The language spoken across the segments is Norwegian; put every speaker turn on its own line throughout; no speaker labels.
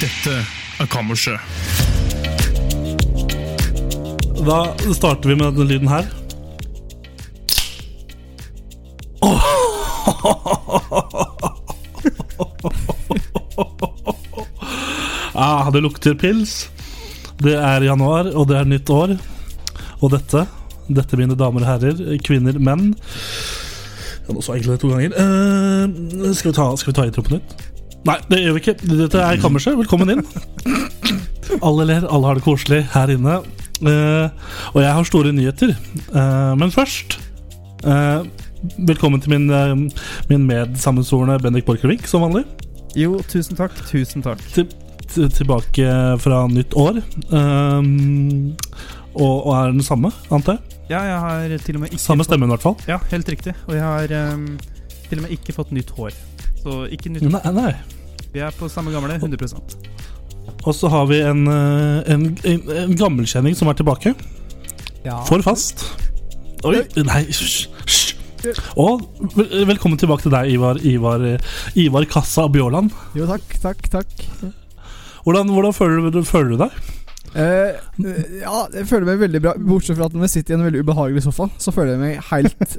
Dette er Kammerset.
Da starter vi med denne lyden her. Ah, det lukter pils. Det er januar, og det er nytt år. Og dette, dette mine damer og herrer, kvinner, menn Ja, Nå sa jeg egentlig det to ganger. Eh, skal, vi ta, skal vi ta intro på nytt? Nei, det gjør vi ikke. Dette er Kammerset. Velkommen inn. Alle ler, alle har det koselig her inne. Eh, og jeg har store nyheter. Eh, men først eh, Velkommen til min, uh, min medsammensvorne Bendik Borchgrevink, som vanlig.
Jo, tusen takk. Tusen takk.
Til, tilbake fra nytt år. Eh, og, og er den samme, antar jeg.
Ja, jeg har til og med ikke
Samme stemmen, i hvert fall.
Fått, ja, helt riktig. Og jeg har ehm, til og med ikke fått nytt hår. Så ikke nytt
Nei, nei. Mm.
Vi er på samme gamle, 100
Og så har vi en, eh, en, en, en gammelkjenning som er tilbake.
ja.
For fast. Oi, nei hysj, hysj. Og vel- velkommen tilbake til deg, Ivar, Ivar, eh, Ivar Kassa Bjåland.
Jo, takk, takk, takk.
Hvordan, hvordan føler, du, føler du deg?
Eh, ja, jeg føler meg veldig bra. Bortsett fra at når jeg sitter i en veldig ubehagelig sofa, så føler jeg meg helt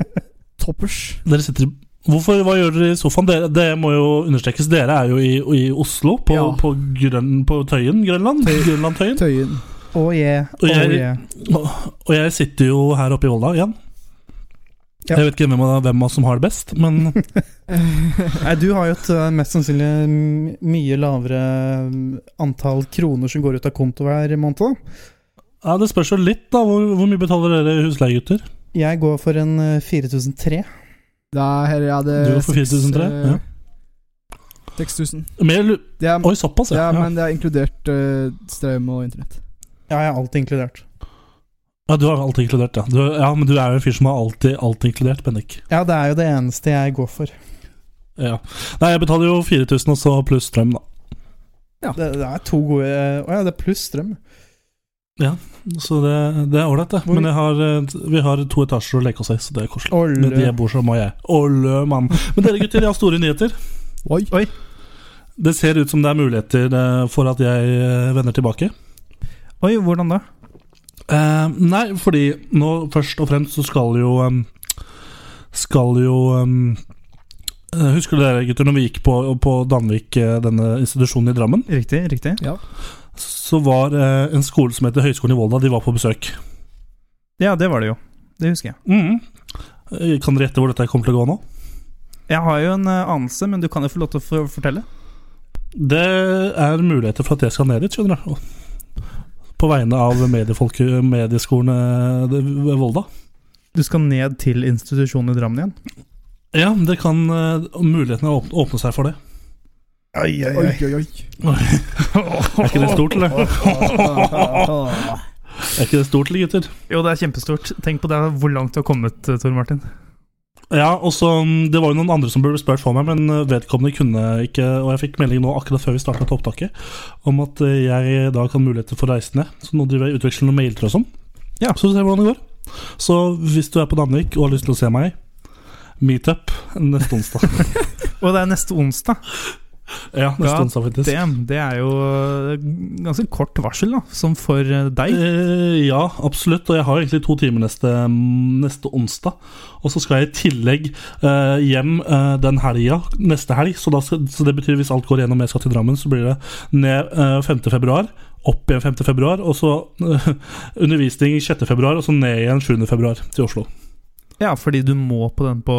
toppers.
Dere sitter i Hvorfor, Hva gjør dere i sofaen? Dere, det må jo understrekes. Dere er jo i, i Oslo, på,
Ja.
på, grønn, på Tøyen, Grønland. Grønlandtøyen.
Tøyen.
Oh yeah.
Og jeg-
oh yeah.
Og, og jeg sitter jo her oppe i Volda igjen.
Ja.
Jeg vet ikke hvem av, hvem av oss som har det best, men
Nei, du har jo et eh, mest sannsynlig mm, mye lavere mm, antall kroner som går ut av konto hver måned. da.
ja, det spørs jo litt, da. Hvor, hvor mye betaler dere husleie, gutter?
Jeg går for en eh, 4003.
Da her er det
Du går for
seks,
4300,
eh,
ja.
6000.
Mer, lu-
Det er,
oi, såpass,
ja,
ja. ja.
men det er inkludert eh, strøm og internett.
Ja, jeg har alt inkludert.
Ja, du har alt inkludert, ja. Du, ja, men du er jo en fyr som har alltid alt inkludert, Bendik.
Ja, det er jo det eneste jeg går for.
Ja. Nei, jeg betaler jo 4000 og så pluss strøm, da.
Det, det er to gode eh, Å ja, det er pluss strøm.
Så det, det er ålreit, det.
Hvor-
Men jeg har, eh, vi har to etasjer å leke oss i, så det er koselig. Men de
Olle.
bor som meg, jeg. Olle, mann. Men dere gutter, jeg har store nyheter.
Oi.
Det ser ut som det er muligheter eh, for at jeg eh, vender tilbake.
Oi, hvordan da?
Eh, nei, fordi nå først og fremst så skal jo em, Skal jo em, eh, Husker dere, gutter, når vi gikk på, på Danvik, eh, denne institusjonen i Drammen?
Riktig, riktig.
så var eh, en skole som heter Høgskolen i Volda, de var på besøk.
Ja, det var det jo. Det husker jeg.
Mm. Eh, Kan dere gjette hvor dette kommer til å gå nå?
Jeg har jo en eh, anelse, men du kan jo få lov til å få- fortelle.
Det er muligheter for at jeg skal ned dit, skjønner du. På vegne av mediefolk, medieskolen eh, det- ved Volda.
Du skal ned til institusjonen i Drammen igjen?
Ja, det kan eh, mulighetene åpne, åpne seg for det.
Ai,
Oi, oi, oi.
Er ikke det stort, eller?
Ah,
Er ikke det stort, eller, gutter?
Jo, det er kjempestort. Tenk på det, hvor langt du har kommet, eh, Tor Martin.
Ja, og så mm, Det var jo noen andre som burde spurt for meg, men eh, vedkommende kunne ikke Og jeg fikk melding nå akkurat før vi startet opptaket om at eh, jeg da kan ha muligheter for å reise ned. Så nå driver jeg og utveksler noen mailtråd og sånn.
Ja.
Så ser vi hvordan det går. Så hvis du er på Danvik og har lyst til å se meg, meetup neste onsdag.
Og det er neste onsdag.
ja, neste
Ja,
onsdag faktisk.
Det, det er jo eh, ganske kort varsel, da. Som for eh, deg.
Eh, ja, absolutt. Og jeg har egentlig to timer neste, neste onsdag. Og så skal jeg i tillegg eh, hjem eh, den helga, neste helg. Så, da skal, så det betyr hvis alt går gjennom jeg skal til Drammen, så blir det ned eh, 5. februar, opp igjen 5. februar, og så eh, undervisning 6. februar, og så ned igjen 7. februar til Oslo.
Ja, fordi du må på den på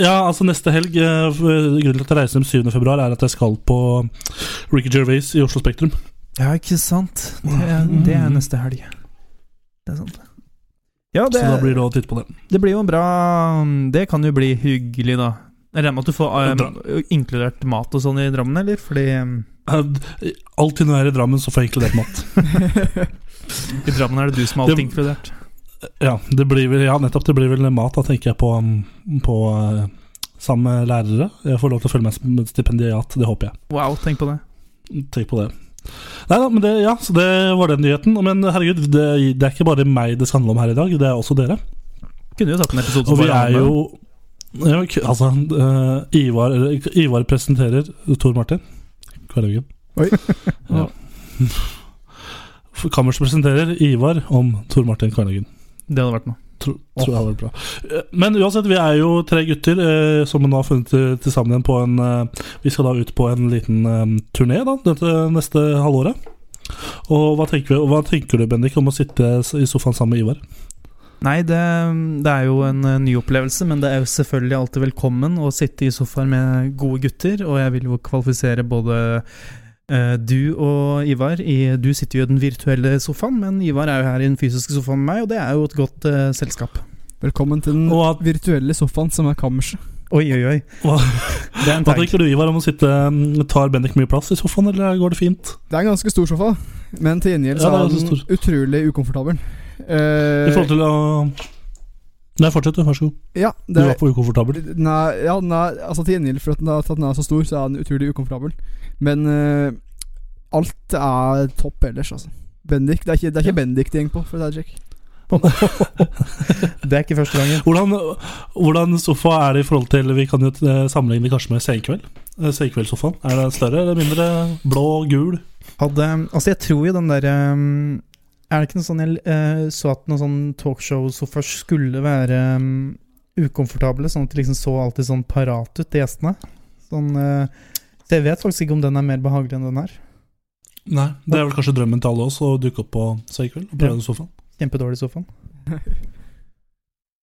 Ja, altså neste helg eh, f- Grunnen til at jeg reiser hjem 7. februar, er at jeg skal på Ricky Gervais i Oslo Spektrum.
Ja, ikke sant. Det er, det er neste helg. Det er sant. Ja, det,
Så da blir det å titte på det.
det blir jo en bra Det kan jo bli hyggelig, da. Jeg regner med at du får eh,
Da-
inkludert mat og sånn i Drammen, eller? Fordi eh,
Eh, Alltid når jeg er i Drammen, så får jeg inkludert mat.
i Drammen er det du som har alt
Det-
inkludert.
Ja, det blir vel, ja, nettopp. Det blir vel mat. Da tenker jeg på, um, på eh, sammen med lærere. Jeg får lov til å følge med som et stipendiat, det håper jeg.
Wow, tenk på det.
Tenk på det. Nei da, men det, ja, så det var den nyheten. Men herregud, det, det er ikke bare meg det skal handle om her i dag, det er også dere.
Kunne jo tatt en episode
Og
som
vi
bare
er
handler
jo
om
ja, ok, Altså, eh, Ivar, eller, Ivar presenterer Tor Martin Kvarhaugen.
Oi.
Ja. For Kammers presenterer Ivar om Tor Martin Kvarhaugen.
det. Det hadde vært noe.
Tro, tror jeg var bra. Eh, Men uansett, vi er jo tre gutter eh, som nå har funnet til- til sammen på en eh, Vi skal da ut på en liten eh, turné da, dette neste halvåret. Og hva tenker, vi, og hva tenker du, Bendik, om å sitte s- i sofaen sammen med Ivar?
Nei, det, det er jo en eh, ny opplevelse, men det er jo selvfølgelig alltid velkommen å sitte i sofaen med gode gutter, og jeg vil jo kvalifisere både eh, du og Ivar. I, du sitter jo i den virtuelle sofaen, men Ivar er jo her i den fysiske sofaen med meg, og det er jo et godt eh, selskap.
Velkommen til den
Og at-
virtuelle sofaen som er kammerset.
Oi, oi, oi. Det er en
Hva
tag.
tenker du, Ivar, om å sitte mm, Tar Bendik mye plass i sofaen, eller går det fint?
Det er en ganske stor sofa, men til gjengjeld så
Ja, det er
er
ganske
den utrolig ukomfortabel.
I
Eh,
forhold til å Nei, fortsett, du. Vær så god.
ja,
Du
det,
var for ukomfortabel.
den er, ja, den er, altså til gjengjeld for at den, er, at den er så stor, så er den utrolig ukomfortabel. Men eh, alt er topp ellers, altså. Bendik, Det er ikke, det er ikke Bendik det går på, for å si det Jack.
Det er ikke første gangen.
Hvordan, hvordan sofa er det i forhold til Vi kan jo eh, sammenligne kanskje med Senkveld. Eh, Senkveldssofaen. Er den større eller mindre? Blå, gul?
Hadde, altså, jeg tror jo den derre um, Er det ikke noe sånn jeg eh, så at noen sånn talkshow-sofaer skulle være um, ukomfortable, sånn at de liksom så alltid sånn parat ut til gjestene? Sånn eh, Så jeg vet faktisk ikke om den er mer behagelig enn den her.
Nei, Det er vel kanskje drømmen til alle oss å dukke opp på Senkveld og prøve
Ja.
den sofaen.
Kjempedårlig sofaen.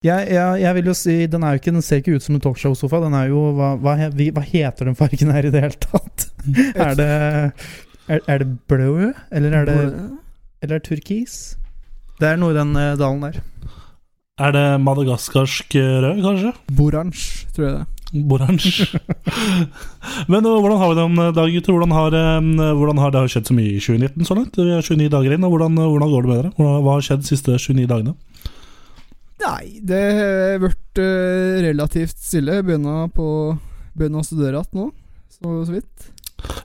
Jeg, jeg, jeg vil jo si, Den er jo ikke, den ser ikke ut som en talkshow-sofa. Den er jo, hva, hva, he- vi- hva heter den fargen her i det hele tatt? Er det, er, er det blå, eller er det, eller er det turkis? Det er noe i den eh, dalen der.
Er det madagaskarsk eh, rød, kanskje?
Boransje, tror jeg det er.
Oransje. Men eh, hvordan har vi det om eh, dag, gutter? Hvordan har, eh, hvordan har det har skjedd så mye i 2019 så langt? Vi er 29 dager inn, og hvordan, eh, hvordan går det med dere? Hvordan, hva har skjedd de siste 29 dagene?
Nei, det har vært eh, relativt stille. Begynner, på, begynner å studere igjen nå, så, så vidt.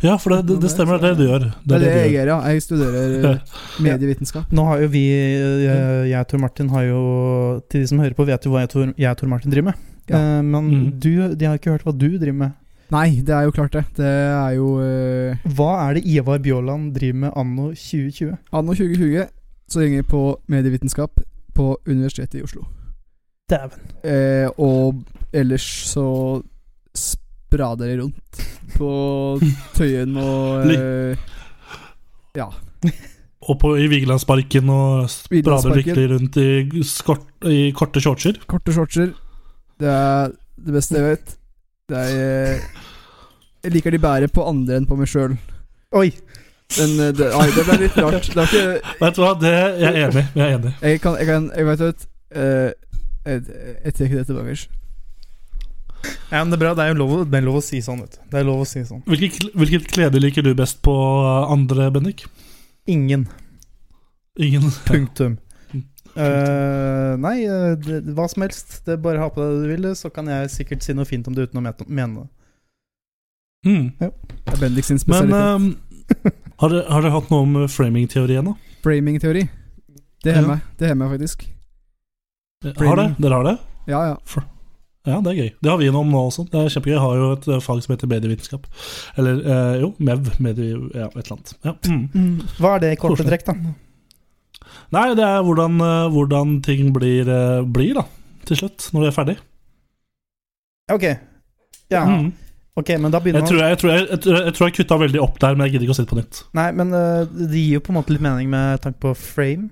Ja, for det, det, det stemmer, det er det du gjør.
Det er det
du
jeg
gjør.
gjør, ja. Jeg studerer eh, medievitenskap.
Nå har jo vi, eh, jeg og Tor Martin, har jo Til de som hører på, vet jo hva jeg, Tor, jeg og Tor Martin driver med.
Ja.
Eh, men
Mhm.
du, de har ikke hørt hva du driver med.
Nei, det er jo klart, det. Det er jo eh,
Hva er det Ivar Bjåland driver med anno 2020?
Anno 2020 så går jeg på medievitenskap på Universitetet i Oslo.
Dæven.
Eh, og ellers så sprader jeg rundt på Tøyen og eh,
Og på, i Vigelandsparken og sprader
Vigelandsparken.
lykkelig rundt i, skort, i korte shortser.
korte shortser. Det er det beste jeg vet. Det er eh, Jeg liker de bedre på andre enn på meg sjøl.
Oi!
Men eh, det, nei, det ble litt rart. Det er ikke,
Vet du hva, det, jeg er enig. Jeg er enig.
jeg kan, jeg kan Jeg vet du vet eh, Jeg, jeg tar ikke det tilbake.
Ja, men det er bra. Det er jo lov, å- det er lov å si sånn, vet du. Det er lov å si sånn.
Hvilket, kl- hvilket klede liker du best på eh, andre, Bendik?
Ingen.
Ingen.
Punktum.
Punktum.
Eh, nei, eh, det, hva som helst. Det er Bare ha på deg det du vil, så kan jeg sikkert si noe fint om det uten å met- mene det.
Mm.
Det er Bendik sin
Men
spesialitet.
ehm, har, dere, har dere hatt noe om framing-teorien, da?
Framing-teori. Det
Ja.
har meg. Det har meg faktisk.
Har det?
Framing.
Dere har det?
Ja, ja.
Ja, det er gøy. Det har vi noe om nå også. Det er kjempegøy. Jeg har jo et eh, fag som heter medievitenskap. Eller eh, jo, MEV. Medie... Ja, et eller annet. Ja. Mm.
Hva er det i korte
Koselig.
trekk, da?
Nei, det er hvordan, eh, hvordan ting blir, eh, blir, da. Til slutt, når du er ferdig.
Ok. Ja,
Mm.
ok, men da
Jeg
begynner man
tror jeg, jeg, tror jeg, jeg, tror jeg, jeg tror jeg kutta veldig opp der, men jeg gidder ikke å si det på nytt.
Nei, men eh, det gir jo på en måte litt mening med tanke på frame.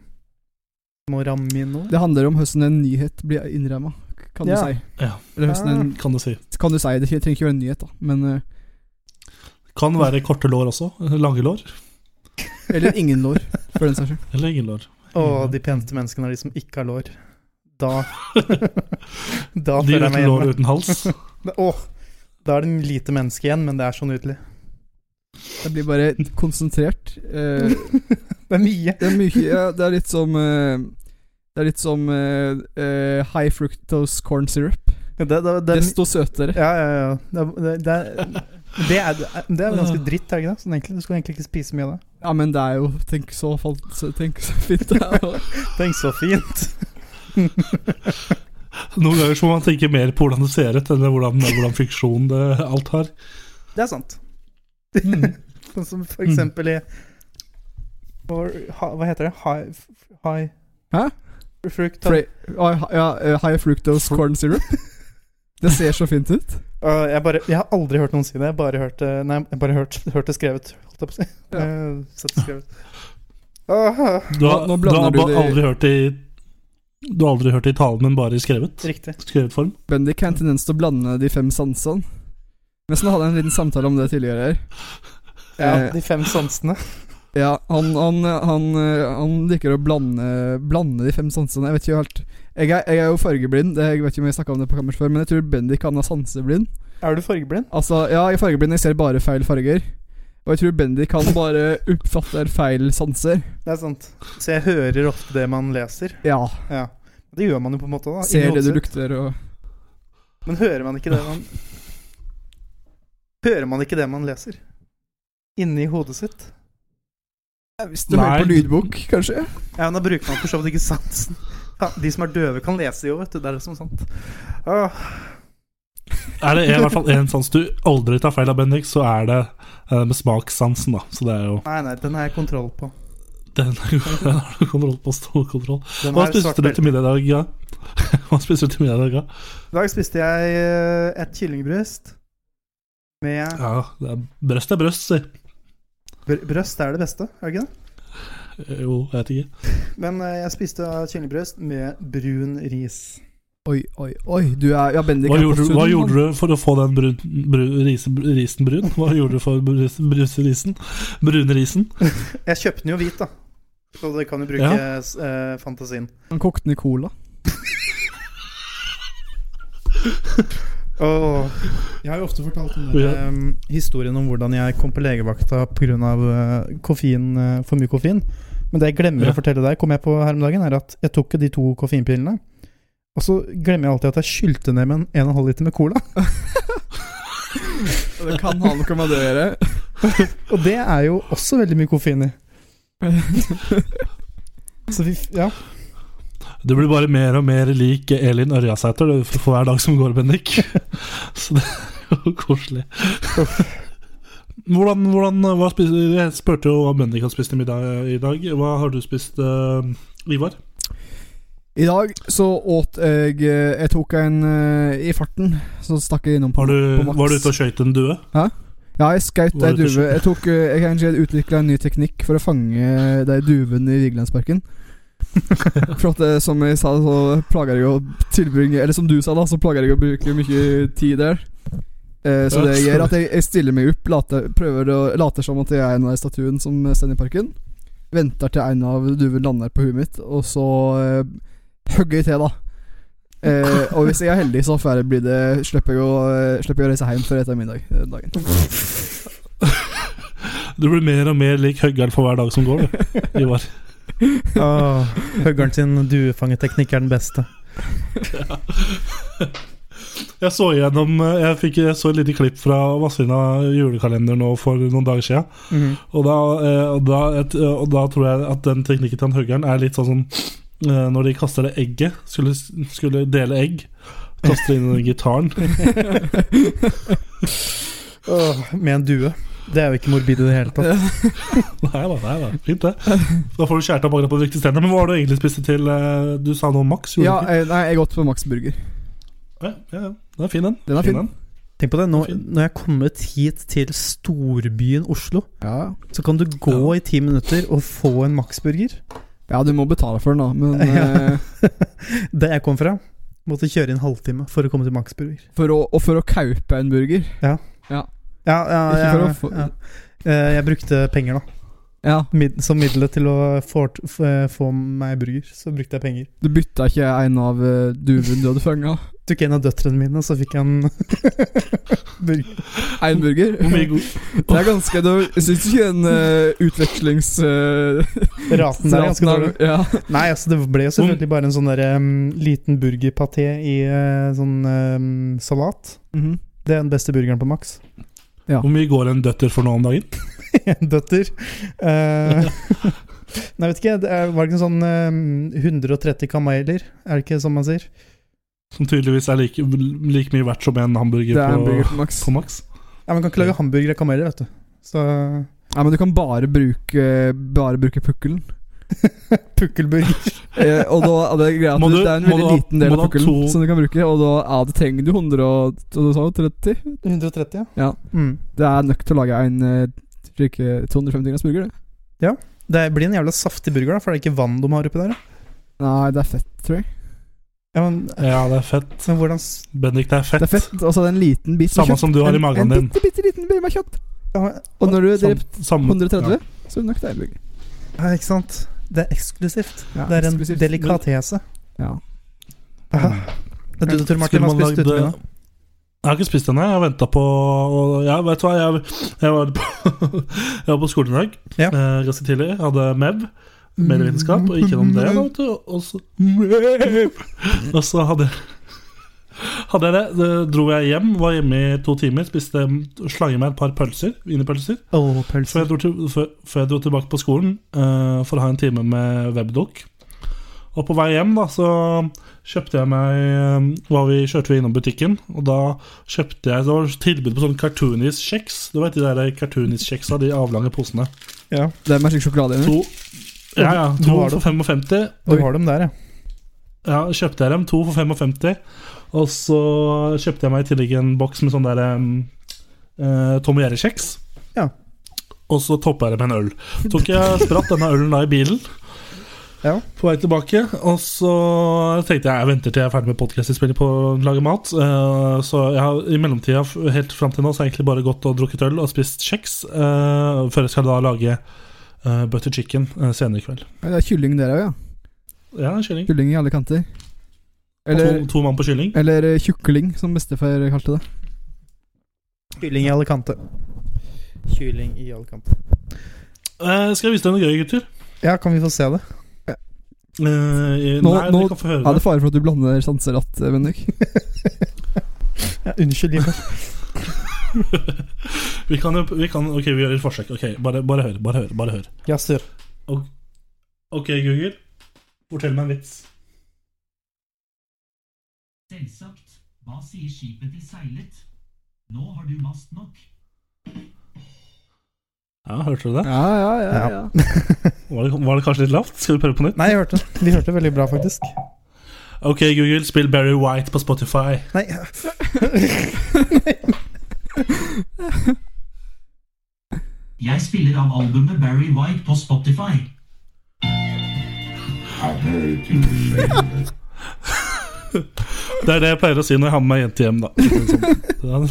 Må ramme inn noe.
Det handler om hvordan en nyhet blir innramma, kan
Ja.
du si.
Ja.
Eller hvordan en
Kan du si.
Kan du si det? Jeg trenger ikke være en nyhet, da. Men, eh,
Kan være korte lår også. Lange lår.
eller ingen lår, for den saks skyld.
Eller ingen lår. Mm.
Og de peneste menneskene er de som ikke har lår. Da Da
De
føler jeg
uten
meg
lår
hjemme.
uten hals.
Da- Åh, da er det lite menneske igjen, men det er sånn så nydelig.
Det blir bare konsentrert. Eh,
Det er mye.
det, er mye, ja, det er litt som eh, Det er litt som eh, eh, high fructose corn syrup.
Det, det, det,
Desto søtere.
ja, ja, ja. Det, er- det, er- det, er, det er jo ganske dritt, er det ikke det? Sånn egentlig, du skulle egentlig ikke spise mye av det.
Ja, men det er jo Tenk så, fal- så, tenk så fint det er.
Tenk så fint.
Noen ganger så må man tenke mer på hvordan det ser ut, enn hvordan, hvordan funksjon det alt har.
Det er sant.
Mm.
Sånn som for
Mm.
eksempel i Hva hva heter det? High, high
Hæ?
Frukt
Fra- ah, ja, eh, high fructose corn syrup. Det ser så fint ut.
Øh, jeg, bare, jeg har aldri hørt noen si det. Jeg har bare hørt det Nei, jeg har bare hørt, hørt det skrevet, holdt jeg på å si.
Ja.
Øh, Sett det skrevet. Aha,
Du har,
Nå-
du har
nå blander du
ba-
det-
aldri hørt det i Du har aldri hørt det i talen, men bare i skrevet.
riktig.
Skrevet form.
Bendik har en tendens til å blande de fem sansene. Mens nå hadde jeg en liten samtale om det tidligere her.
Ja,
Eh,
de fem sansene.
Ja, han, han, han, han liker å blande, blande de fem sansene. Jeg vet ikke helt Jeg er, jeg er jo fargeblind, det, jeg vet ikke om jeg snakka om det på kammers før, men jeg tror Bendik han er sanseblind.
Er du fargeblind?
Altså, ja, jeg er fargeblind, jeg ser bare feil farger. Og jeg tror Bendik han bare oppfatter feil sanser.
Det er sant. Så jeg hører ofte det man leser.
Ja.
Ja. Det gjør man jo på en måte. da.
Ser
inni
det
hodet
du
sitt.
lukter og
Men hører man ikke det man Hører man ikke det man leser? Inni hodet sitt?
Ja, Hvis du hører på
Nei.
lydbok, kanskje?
Ja, men da bruker man for så vidt ikke sansen. Ja, de som er døve, kan lese jo, vet du. Det er det som er sant. Åh.
Er det i hvert fall en sans du aldri tar feil av, Bendik, så er det eh, med smakssansen, da. Så det er jo
Nei, nei, den har jeg kontroll på.
Den den har du kontroll på. Stor kontroll.
Den
Hva
er svart
spiste du
belte.
til middag i dag, ja? Hva spiste du til middag i dag, ja?
I dag spiste jeg eh, et kyllingbryst med
Ja, det er brøst er brøst, si.
br- Brøst er det beste, er det ikke det?
Jo, jeg vet ikke.
Men eh, jeg spiste kyllingbryst med brun ris.
Oi, oi, oi. Du er Ja, Bendik
Hva
er på
gjorde, du-
studien,
hva
han.
gjorde du for å få den brun, brun, risen, risen brun? Hva gjorde du for brus, bruserisen? Brunrisen?
Jeg kjøpte den jo hvit, da. Så dere kan jo bruke
Ja.
s- eh, fantasien.
Han kokte ned cola.
Åh. Jeg har jo ofte fortalt om
Ja.
eh, historien om hvordan jeg kom på legevakta pga. Uh, koffein, eh, for mye koffein. Men det jeg glemmer
Ja.
å fortelle deg, kom jeg på her om dagen, er at jeg tok de to koffeinpillene. Og så glemmer jeg alltid at jeg skylte ned med en 1,5 liter med cola.
Og Det kan ha noe med det å gjøre.
Og det er jo også veldig mye koffein i. Så vi, f- ja.
Du blir bare mer og mer lik Elin Ørjasæter du, for hver dag som går, Bendik. Så det er jo koselig. Hvordan, hvordan hva spiste, Jeg spurte jo hva Bendik hadde spist i middag i dag. Hva har du spist, eh, Ivar?
I dag så åt jeg eh, Jeg tok en eh, i farten, så stakk jeg innom på,
Har du,
på Max.
var du ute og skøyt en due?
Ja, jeg skaut
Var
ei
du ute og
duve. Jeg tok eh, Jeg har utvikla en ny teknikk for å fange de duvene i Vigelandsparken. For at eh, som jeg sa, så plager jeg å tilbringe Eller som du sa, da, så plager jeg å bruke mye tid der. Eh, så
Ja,
det jeg gjør,
sorry.
at jeg, jeg stiller meg opp, later, prøver å later som at jeg er en av de statuene som står i parken. Venter til en av duvene lander på huet mitt, og så eh, hugger jeg til, da. Eh, og hvis jeg er heldig, så får jeg- blir det, slipper jeg å, eh, slipper jeg å reise hjem før etter middag. eh, dagen
Du blir mer og mer lik Høgger'n for hver dag som går, du, Ivar.
Åh, Høggern sin duefangeteknikk er den beste.
Jeg så igjennom eh, Jeg, fikk, jeg så et lite klipp fra Vazelina julekalender nå for noen dager siden.
Mhm.
Og da, eh, og da, et, og da tror jeg at den teknikken til han huggeren er litt sånn som eh, når de kaster det egget Skulle, skulle dele egg. Kaster det inn i den gitaren.
Åh, med en due. Det er jo ikke morbid i det hele tatt.
Nei da, nei da. Fint, det. Da får du skjært opp akkurat på de riktige stedene. Men hva har du egentlig spist til? eh, Du sa noe om Max? gjorde
Ja, eh,
du ikke?
jeg, nei, jeg har gått på Max Burger.
Ja, ja, ja. Den er fin, den.
Den er fin.
Tenk på det, nå,
Fin.
når jeg er kommet hit til storbyen Oslo,
Ja.
så kan du gå
Ja.
i ti minutter og få en Max-burger.
ja, du må betale for den, da. Men
Ja.
eh,
Der jeg kom fra, måtte kjøre i en halvtime for å komme til Max-burger.
for å, og for å kaupe en burger
Ja, ja,
Ikke for
ja,
å få-
ja. Eh, Jeg brukte penger, da.
Ja,
Mid som middel til å få, f eh, få meg burger, så brukte jeg penger.
Du bytta ikke en av eh, duven du hadde fanga?
Tok en av døtrene mine, så fikk jeg en burger.
Én burger?
Hvor mye god
Det er ganske det, Jeg syns ikke den eh, utvekslings... eh,
Raten der er ganske dårlig.
Ja.
Nei, altså det ble jo selvfølgelig bare en sånn der, em, liten burgerpaté i eh, sånn em, salat.
Mhm.
Det er den beste burgeren på Max.
Hvor mye går en døtter for nå om dagen?
En døtter. Eh, nei, vet ikke. Det er, var det ikke sånn em, 130 kameler? Er det ikke sånn man sier?
Som tydeligvis er like, like mye verdt som en hamburger,
Det er en
på,
burger på maks.
på Max.
Ja, Man kan ikke lage hamburgere av kameler, vet du. Så
Nei, men du kan bare bruke Bare bruke pukkelen.
pukkelburger.
Eh, og da er det greia at
Må du-
det er en
må du
veldig
ha-
liten del
må
av
du ha
pukkelen
to-
som du kan bruke, og da ja, det trenger du 130
130, ja.
Ja.
Mm.
Det er nok til å lage en eh, slik, eh, 250 grams burger, det.
Det blir en jævla saftig burger, da, for det er ikke vann de har oppi der. da.
Nei, det er fett, tror jeg.
Ja, men,
Ja, det er fett.
men hvordan s-
Bendik, det er fett.
Det er fett, og så er det en liten bit
Samme som du har i magen
en,
din.
en bitte, bitte liten bit med kjøtt.
ja,
Og når du er drept
Sam- samme-
130,
ja.
så er det nok det er en burger.
ja, ikke sant? Det er eksklusivt.
Ja,
det er en
eksklusivt.
delikatese.
Ja.
Aha. Det er du, Tor Martin,
Skulle
hva
man
spiste du til
lagd-
middag?
Jeg har ikke spist ennå. Jeg har venta på og- Ja, vet du hva, jeg, jeg, var, på, jeg var på skolen i dag
Ja.
eh, ganske tidlig. Jeg hadde MEV, medievitenskap, og gikk gjennom det. Da, vet du, og, så, og så hadde jeg hadde jeg det, det, dro jeg hjem, var hjemme i to timer, spiste slange meg et par pølser. Wienerpølser.
Åh,
Før
pølser.
jeg, dro til, før, før jeg dro tilbake på skolen eh, for å ha en time med webdoc. Og på vei hjem da, så kjøpte jeg meg eh, var vi, Kjørte vi innom butikken, og da kjøpte jeg Det var tilbud på sånn cartoonis-kjeks. Du vet de der cartoonis-kjeksa, de avlange posene.
Ja,
Det er med slik sjokolade inni.
To, ja, ja,
Du
to
har det.
for 55.
du har dem der, ja.
Ja, kjøpte jeg dem. To for 55. Og så kjøpte jeg meg i tillegg en boks med sånn der um, eh, Tom og Jerry-kjeks.
Ja.
Og så toppa jeg det med en øl. Tok jeg spratt denne ølen da i bilen.
Ja.
På vei tilbake. Og så tenkte jeg jeg venter til jeg er ferdig med podkastinnspillet på å lage mat. Eh, så jeg har i mellomtida f- helt fram til nå så har jeg egentlig bare gått og drukket øl og spist kjeks. eh, før jeg skal da lage eh, butter chicken eh, senere i kveld.
Ja, Det er kylling der òg, ja.
Ja, kylling.
Kylling i alle kanter. Eller,
To, to mann på kylling.
eller eh, tjukkeling, som bestefar kalte det.
Kylling i Alicante. Kylling i Alicante.
Eh, skal jeg vise deg noe gøy, gutter?
Ja, kan vi få se det?
Eh, i-
Nå-
nei,
nå-
dere kan få høre
Er
det.
det fare for at du blander sanser att, eh, Bendik?
Ja, unnskyld, Jimmy.
Vi kan, jo- vi kan, ok, vi gjør et forsøk. Ok, Bare, bare hør. bare hør, bare hør.
Ja, sir.
Ok, Google, fortell meg en vits.
Selvsagt. Hva sier skipet til seilet? Nå har du mast nok.
Ja, Hørte du det?
Ja, ja, ja. ja.
Var det, var det kanskje litt lavt? Skal vi prøve på nytt?
Nei, jeg hørte det. Vi hørte det veldig bra, faktisk.
Ok, Google, spill Barry White på Spotify.
Nei.
Jeg spiller av albumet Barry White på Spotify.
Det er det jeg pleier å si når jeg har med meg jente hjem, da. Sånn.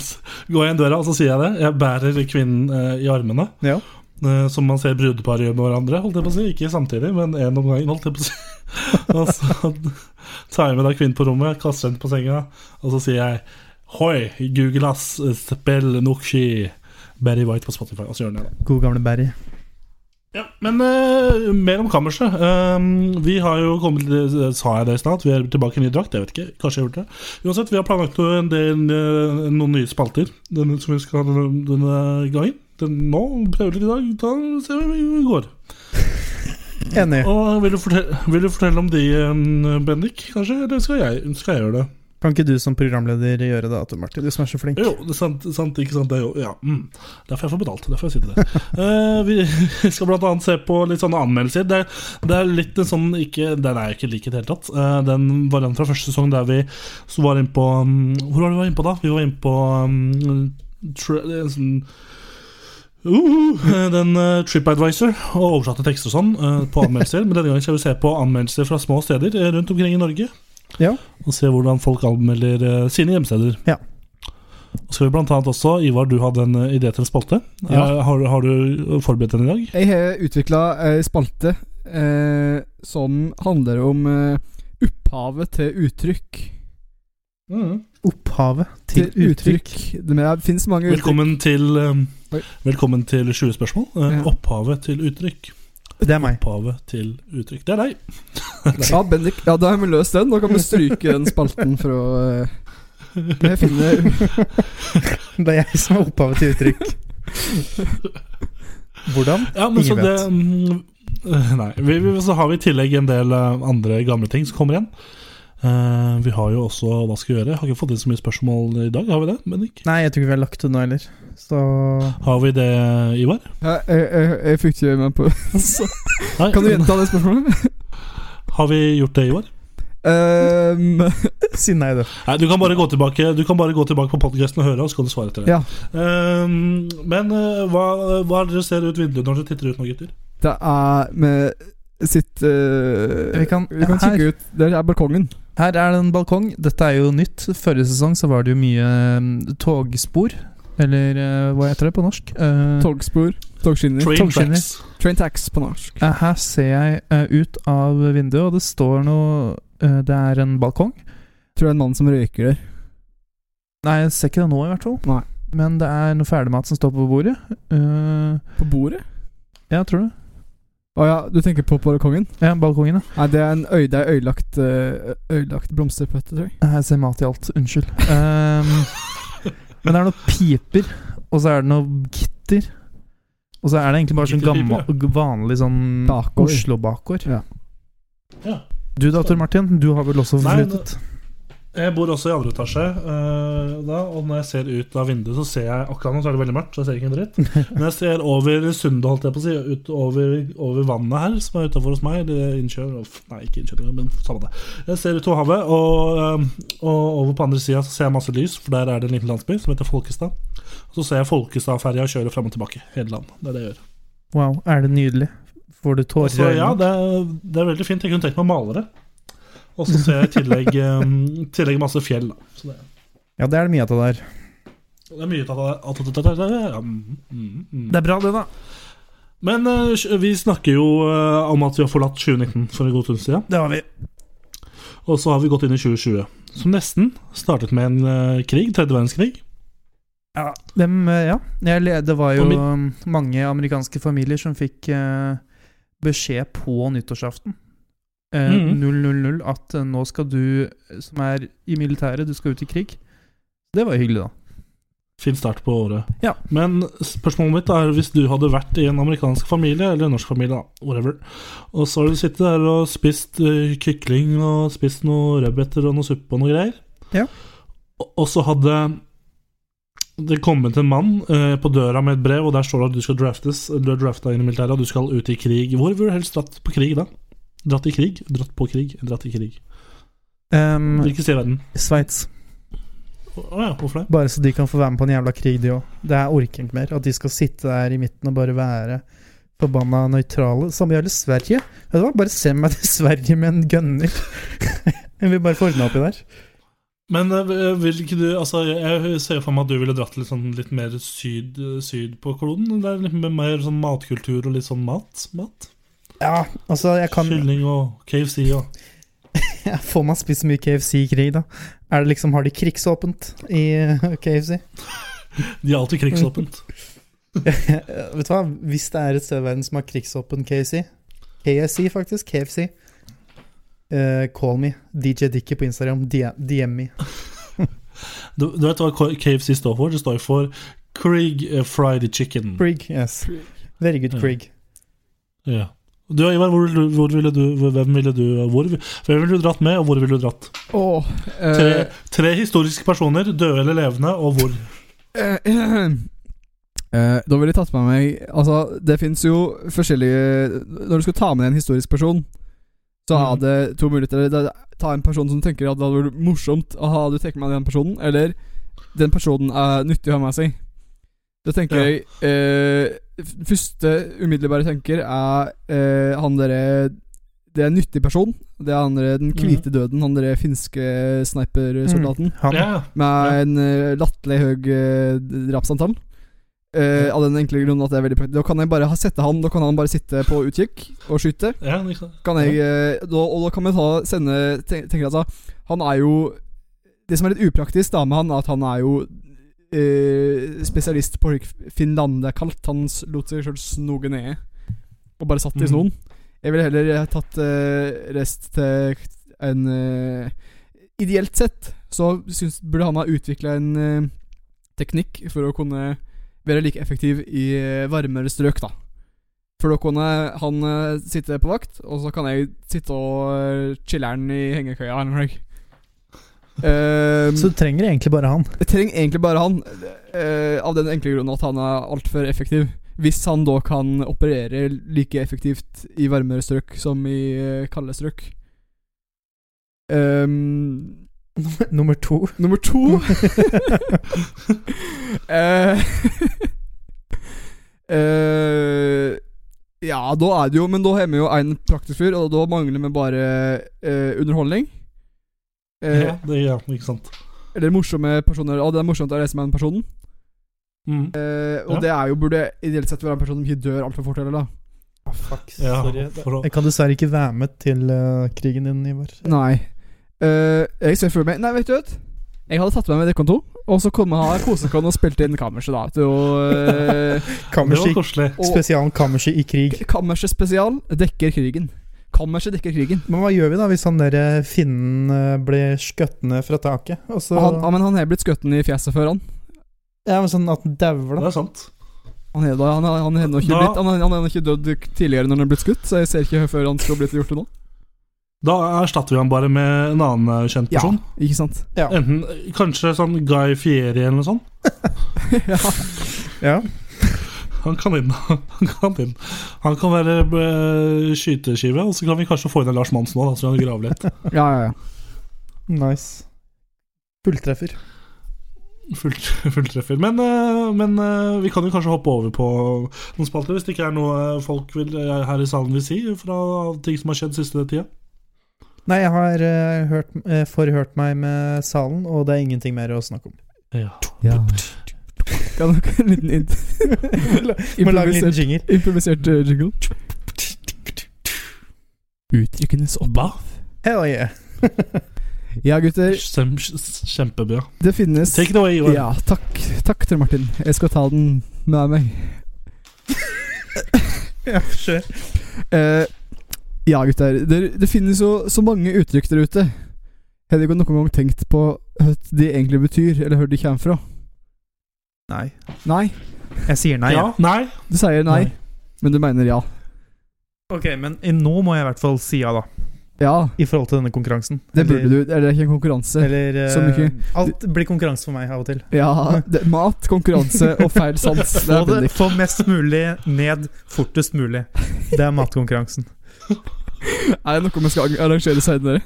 Går jeg inn døra, og så sier jeg det. Jeg bærer kvinnen eh, i armene.
Ja.
Eh, som man ser brudepar gjøre med hverandre, holdt jeg på å si. Ikke samtidig, men én om gangen, holdt jeg på å si. og så tar jeg med da kvinnen på rommet, kaster henne på senga, og så sier jeg Hoi, Google ass, spill Nokshi, Barry White på Spotify. Og så gjør den det, da.
God gamle Barry.
Ja, men eh, mer om kammerset. Eh, vi har jo kommet eh, Sa jeg det i stad? at Vi er tilbake i ny drakt? Jeg vet ikke. Kanskje jeg har gjort det. Uansett, vi har planlagt noe- en del, eh, noen nye spalter denne, som vi skal ha denne, denne gangen. Den, nå prøver vi litt i dag. Da ser vi hvordan det går.
Enig.
Og vil du fortelle, vil du fortelle om de, eh, Bendik? Kanskje? Eller skal jeg, skal jeg gjøre det?
Kan ikke du som programleder gjøre det, Tor Martin? Du som er så flink.
Jo, det er sant, sant ikke sant? Det er jo, ja, mm. Derfor jeg får betalt. Derfor jeg sitter der. Eh, vi skal blant annet se på litt sånne anmeldelser. Det, det er litt en sånn ikke, Den er jo ikke lik i det hele tatt. Eh, den var den fra første sesong der vi så var innpå um, Hvor var det vi var innpå da? Vi var innpå um, tra, en sånn Uh, den eh, TripAdvisor og oversatte tekster og sånn eh, på anmeldelser. Men denne gangen skal vi se på anmeldelser fra små steder eh, rundt omkring i Norge.
Ja.
Og se hvordan folk anmelder eh, sine hjemsteder.
Ja.
Og skal vi blant annet også, Ivar, du hadde en eh, idé til en spalte.
Ja.
Eh, Har, du- har du forberedt den i dag?
Jeg har utvikla ei spalte eh, som handler om eh, opphavet til uttrykk.
Opphavet til uttrykk.
Det, men det finnes mange uttrykk.
Velkommen til, eh,
Oi.
velkommen til 20 spørsmål. Eh,
Ja.
Opphavet til uttrykk.
Det er meg.
Opphavet til uttrykk. Det er deg.
Ja, Bendik, ja, da har vi løst den. Da kan vi stryke den spalten fra eh, Jeg finner
Det er jeg som er opphavet til uttrykk. Hvordan?
Ja, men så
Ingen
det mm, eh, Nei. Vi, vi, så har vi i tillegg en del eh, andre gamle ting som kommer igjen. Eh, vi har jo også Hva skal vi gjøre? Har ikke fått inn så mye spørsmål i dag, har vi det? Bendik?
Nei, jeg tror ikke vi har lagt ut nå heller. Så
Har vi det, Ivar?
Jeg, jeg, jeg, jeg fikk ikke med på så,
Nei.
Kan du gjenta det spørsmålet?
Har vi gjort det, Ivar?
Um,
si nei, du.
Nei, du kan bare gå tilbake, du kan bare gå tilbake på podkasten og høre, og så kan du svare etter det.
Ja.
Ehm, men eh, hva, hva er det dere ser ut vinduet når dere titter ut nå, gutter?
det er med sitt eh,
Vi kan-
vi kan kikke ut. Der er balkongen.
Her er det en balkong. Dette er jo nytt. Forrige sesong så var det jo mye mm, togspor. Eller eh, hva heter det på norsk? Eh,
Togspor. Togskinner.
Train
togskinner.
tracks.
Train tax på norsk.
eh, her ser jeg eh, ut av vinduet, og det står noe eh, Det er en balkong.
Tror det er en mann som røyker der.
Nei, jeg ser ikke det nå, i hvert fall.
Nei.
Men det er noe ferdigmat som står på bordet. Eh,
På bordet?
ja, tror du?
Å ja, du tenker på balkongen?
Ja, balkongen, ja.
Nei, det er en øy, det er øylagt, eh, øylagt blomsterpøtte, tror jeg.
Eh, Her ser mat i alt. Unnskyld. Eh, men det er noen piper, og så er det noe gitter. Og så er det egentlig bare sånn
Gitterpipe,
gammel, vanlig
Mm.
sånn
Bakgård.
Oslo-bakgård.
Ja.
Du da, Tor Martin, du har vel også
Nei,
flyttet?
Jeg bor også i andre etasje, eh, da, og når jeg ser ut av vinduet, så ser jeg akkurat nå så er det veldig mørkt, så jeg ser ikke en dritt. Men jeg ser over sundet, holdt jeg på å si, ut over, over vannet her, som er utafor hos meg. Det er innkjør, uff, nei, ikke innkjør, men samme det. Jeg ser utover havet, og, eh, og over på andre sida så ser jeg masse lys, for der er det en liten landsby som heter Folkestad. Og så ser jeg Folkestadferja kjøre fram og tilbake hele landet. Det er det jeg gjør.
Wow, er det nydelig? Får du tårer
Så ja, det er, det er veldig fint. Jeg kunne tenkt meg malere. Og så ser jeg i tillegg, eh, tillegg masse fjell. Da. Så det,
Ja, det er det mye av det der.
det er mye ut av det. alt dette der, ja, mm, mm, mm.
Det er bra, det, da.
Men eh, vi snakker jo eh, om at vi har forlatt 2019 for en god stund siden.
Det har vi.
Og så har vi gått inn i 2020, som nesten startet med en eh, krig, tredje verdenskrig.
Dem, eh, ja. Jeg, le- det var jo
Og min-
um, mange amerikanske familier som fikk eh, beskjed på nyttårsaften. Eh, 000
Mhm.
at eh, nå skal du, eh, som er i militæret, du skal ut i krig. Det var hyggelig, da.
Fin start på året.
Ja.
Men spørsmålet mitt er hvis du hadde vært i en amerikansk familie, eller en norsk familie, da, whatever, og så har du sittet der og spist eh, kykling og spist noen rødbeter og noe suppe og noe greier,
Ja.
og, og så hadde det kommet en mann eh, på døra med et brev, og der står det at du skal draftes, du er drafta inn i militæret, og du skal ut i krig. Hvor ville du helst dratt på krig, da? Dratt i krig? Dratt på krig? Dratt i krig.
Um,
Mm.
Hvilket sted i verden?
Sveits.
Å ja, hvorfor det?
Bare så de kan få være med på en jævla krig, de òg. Det er orker jeg ikke mer. At de skal sitte der i midten og bare være forbanna nøytrale. Samme gjelder Sverige. Vet du hva, bare send meg til Sverige med en gønner. Jeg vil bare få ordna oppi der.
Men eh, vil ikke du Altså, jeg ser for meg at du ville dratt litt, sånn, litt mer syd, syd på kloden. Det er litt mer- mer sånn matkultur og litt sånn mat. mat.
Ja, altså, jeg kan
Kylling og KFC og
Ja, Får man spist så mye KFC i krig, da? Er det liksom, Har de krigsåpent i eh, KFC?
De er alltid krigsåpent.
Vet du hva, hvis det er et sted i verden som har krigsåpen KFC KFC, faktisk. KFC. eh, call me. DJ Dicky på Instagram. DM, DM me.
Du, du vet hva K- KFC står for? Det står for Krig eh, Fried Chicken.
Krig, yes. Very good
Ja.
Krig.
Ja. Du, Ivar, hvor, hvor ville du, hvem ville du hvor, Hvem ville du dratt med, og hvor ville du dratt?
Åh, eh,
Tre, tre historiske personer, døde eller levende, og hvor?
eh, eh, eh, Da ville jeg tatt med meg Altså, det fins jo forskjellige Når du skal ta med en historisk person, så er
Mhm.
det to muligheter. Det er- Ta en person som tenker at det hadde vært morsomt å ha du tenker med den personen, eller den personen er nyttig å ha med seg. Da tenker
Ja.
jeg eh, f- Første umiddelbare tenker er eh, han derre Det er en nyttig person. Det er han der- den hvite døden, han der finske snipersoldaten.
Mm. Han,
Ja,
Med en uh, latterlig høy eh, drapsantall. Eh, Av den enkle grunnen at det er veldig praktisk. Da kan jeg bare ha- sette han Da kan han bare sitte på utkikk og skyte.
ja, ikke sant.
Kan jeg, eh, da, og da kan vi ta, sende ten- tenker jeg, altså, Han er jo Det som er litt upraktisk da med han, er at han er jo eh, spesialist på Finland. Det er kaldt. Han s- lot seg sjøl snoge ned og bare satt i
Mhm.
snoen. Jeg ville heller eh, tatt eh, rest til en eh, Ideelt sett så syns, burde han ha utvikla en eh, teknikk for å kunne være like effektiv i eh, varmere strøk, da. For da kan jeg- han eh, sitte på vakt, og så kan jeg sitte og chiller'n i hengekøya. eller noe. Ehm,
så du trenger egentlig bare han.
jeg trenger egentlig bare han, eh, av den enkle grunnen at han er altfor effektiv. Hvis han da kan operere like effektivt i varmere strøk som i eh, kalde strøk. Ehm,
Nummer to.
nummer to Eh, eh, Ja, da er det jo Men da har vi jo en praktisk fyr, og da mangler vi bare eh, underholdning. Eh,
Ja, det, ja, ikke sant.
Eller morsomme personer. Og det er morsomt å reise med den personen.
Mm.
Eh, og
Ja.
det er jo burde ideelt sett være en person som ikke dør altfor fort heller,
Ja,
da.
Ah, Sorry.
for å,
Jeg kan dessverre ikke være med til eh, krigen din, Ivar.
Nei. Eh, jeg ser for meg Nei, vet du hva? Jeg hadde tatt med meg Dekkon 2, og så kom jeg her kosekon og spilte inn Kammerset, da. Til å, eh,
det var
Kammerset,
koselig.
og
spesialen Kammerset i krig.
Kammerset spesial dekker krigen. Kammerset dekker krigen.
Men hva gjør vi da hvis han der eh, finnen eh, blir skutt ned fra taket? Og så,
Han, ja, men han har blitt skutt i fjeset før, han.
ja, men sånn at han dauer,
Det
da.
er sant.
Han er da- han er- han er nå ikke,
Da-
blitt- han er- han er nå ikke dødd tidligere når han er blitt skutt, så jeg ser ikke hvorfor han skulle blitt gjort det nå.
Da erstatter vi han bare med en annen eh, kjent
Ja.
person.
Ikke sant?
Enten eh, kanskje sånn Guy Fieri eller noe sånt.
ja.
Ja.
Han kan inn. Han kan, inn. Han kan være eh, skyteskive, og så kan vi kanskje få inn en Lars Monsen òg, så vi kan grave litt.
ja, ja, ja.
Nice. Fulltreffer.
Fullt, fulltreffer. Men, eh, men eh, vi kan jo kanskje hoppe over på noen spalter, hvis det ikke er noe eh, folk vil, eh, her i salen vil si fra ting som har skjedd siste tida.
Nei, jeg har eh, hørt, eh, forhørt meg med salen, og det er ingenting mer å snakke om.
Kan dere en liten int
Må lage en liten
improvisert,
jingle.
improvisert eh, jingle? Utrykkenes opphav.
Hell yeah.
Ja, gutter.
Kjem- Kjempebra.
Det finnes
Take it away, Johan.
Ja, takk. Takk, Tor Martin. Jeg skal ta den med meg.
Ja, sure.
Eh, ja, gutter. Det, det finnes jo så mange uttrykk der ute. Har dere noen gang tenkt på hva de egentlig betyr, eller hvor de kommer fra?
Nei.
Nei.
Jeg sier nei.
Ja? Nei?
Du sier nei,
Nei.
men du mener ja.
Ok, men i- nå må jeg i hvert fall si ja, da.
Ja,
I forhold til denne konkurransen.
det burde du. Eller det er ikke en konkurranse.
Eller eh,
Så mye.
Alt blir konkurranse for meg av og til.
Ja, det, Mat, konkurranse og feil sans. Det
Få
er
det
Bendik.
få mest mulig ned fortest mulig. Det er matkonkurransen.
Er det noe vi skal arrangere senere?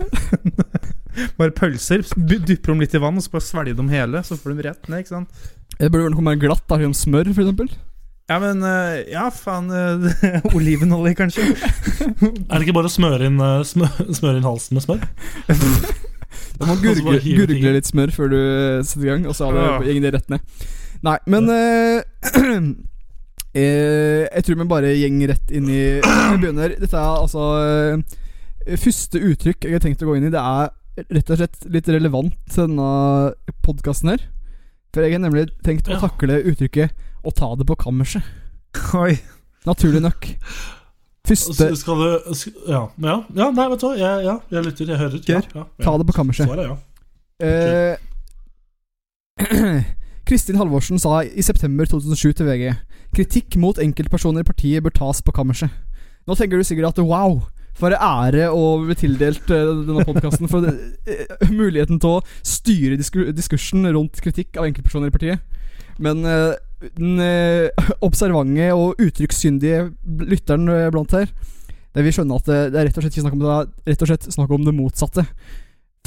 Bare pølser. b- Dypper dem litt i vann, og så bare svelger de hele. Så får de rett ned, ikke sant?
Det burde være noe mer glatt. Da, som smør, for eksempel.
Ja, men eh, Ja, faen. eh, Olivenolje, kanskje?
Er det ikke bare å smøre inn, eh, smø, smøre inn halsen med smør?
Du må
Og så bare
gurgle,
hive ting
gurgle
i.
litt smør før du eh, setter i gang, og så er det, går det rett ned. Nei, men eh, eh, Jeg tror vi bare gjeng rett inn i Vi begynner. Dette er altså eh, Første uttrykk jeg har tenkt å gå inn i, det er rett og slett litt relevant til denne podkasten her. For jeg har nemlig tenkt å
Ja.
takle uttrykket 'å ta det på kammerset'.
Oi.
Naturlig nok. Første
S- Skal du sk- ja, ja, ja, nei, vet du hva. Jeg, ja, jeg lytter, jeg hører. Ja,
Geir,
ja, ja.
'ta det på kammerset'.
Svaret er ja.
Eh, Kristin Halvorsen sa i september 2007 til VG Kritikk mot enkeltpersoner i partiet bør tas på kammerset. Nå tenker du sikkert at wow, for en ære å bli tildelt eh, denne podkasten for eh, muligheten til å styre disku diskursen rundt kritikk av enkeltpersoner i partiet. Men eh, den eh, observante og uttrykkssyndige lytteren eh, blant her det vil skjønne at eh, det, det er rett og slett ikke snakk om det, det er rett og slett snakk om det motsatte.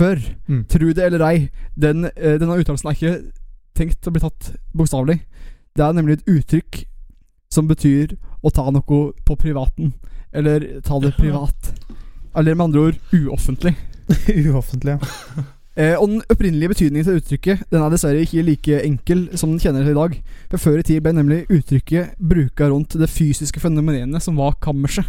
For,
Mm.
tro det eller ei, den, eh, denne uttalelsen er ikke tenkt å bli tatt bokstavelig. Det er nemlig et uttrykk som betyr å ta noe på privaten. Eller ta det privat. Eller med andre ord uoffentlig.
Uoffentlig. ja.
Eh, og Den opprinnelige betydningen til uttrykket Den er dessverre ikke like enkel som den kjenner til i dag. For Før i tid ble nemlig uttrykket bruka rundt det fysiske fenomenet som var kammerset.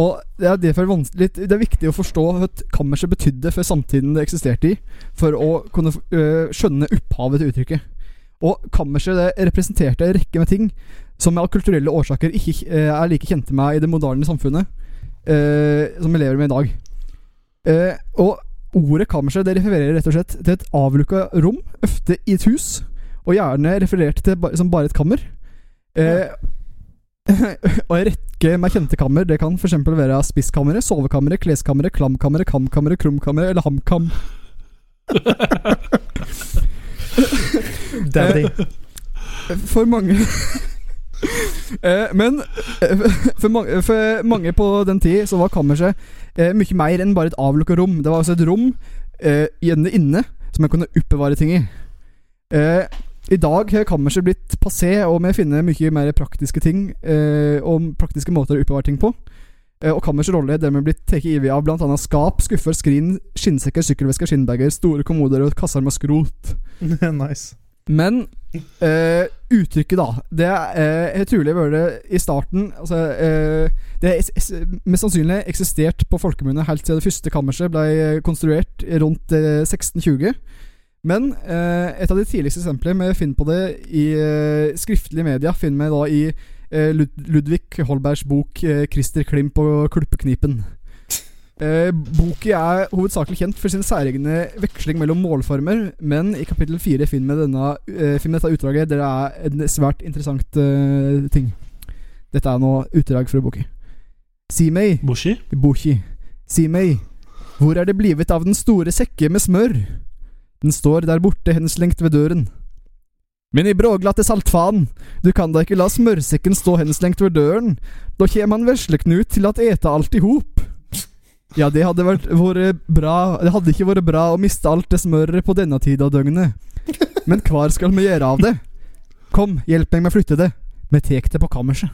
Og Det er derfor vanskelig Det er viktig å forstå hva et kammerset betydde for samtiden det eksisterte i, for å kunne eh, skjønne opphavet til uttrykket. Og Kammerset det representerte en rekke med ting som av kulturelle årsaker ikke eh, er like kjente med i det moderne samfunnet eh, som vi lever med i dag. Eh, og Ordet kammerset det refererer rett og slett til et avlukka rom, ofte i et hus, og gjerne referert til ba- som bare et kammer. Eh, og en rekke med kjente kammer Det kan f.eks. være spisskammeret, sovekammeret, kleskammeret, klamkammeret, kamkammeret, krumkammeret eller hamkam.
Daddy.
For mange Eh, Men eh, for mange, for mange på den tid så var kammerset eh, mye mer enn bare et avlukka rom. Det var altså et rom eh, gjerne inne som en kunne oppbevare ting i. Eh, I dag har kammerset blitt passé, og vi finner mye mer praktiske ting eh, og praktiske måter å oppbevare ting på. Eh, og kammersets rolle er dermed blitt tatt over av bl.a. skap, skuffer, skrin, skinnsekker, sykkelvesker, skinnbager, store kommoder og kasser med skrot.
nice.
Men eh, uttrykket, da Det eh, har trolig vært i starten altså, eh, Det har es- es- mest sannsynlig eksistert på folkemunne helt siden det første kammerset ble konstruert rundt eh, 1620. Men eh, et av de tidligste eksemplene vi finner på det i eh, skriftlige media, finner vi da i eh, Lud Ludvig Holbergs bok eh, 'Christer Klimp og kluppeknipen'. Eh, boken er hovedsakelig kjent for sin særegne veksling mellom målformer, men i kapittel fire finner vi denne, eh, finner vi dette utdraget der det er en svært interessant eh, ting. Dette er nå utdrag fra boka. Si meg,
Boshi?
Boki, si meg, hvor er det blivet av den store sekke med smør? Den står der borte henslengt ved døren. Men i bråglatte saltfaen, du kan da ikke la smørsekken stå henslengt ved døren, da kjem han vesleknut til at ete alt i hop. Ja, det hadde vært, vært bra Det hadde ikke vært bra å miste alt det smøret på denne tida av døgnet. Men hvar skal vi gjøre av det? Kom, hjelp meg med å flytte det. Vi tek det på kammerset.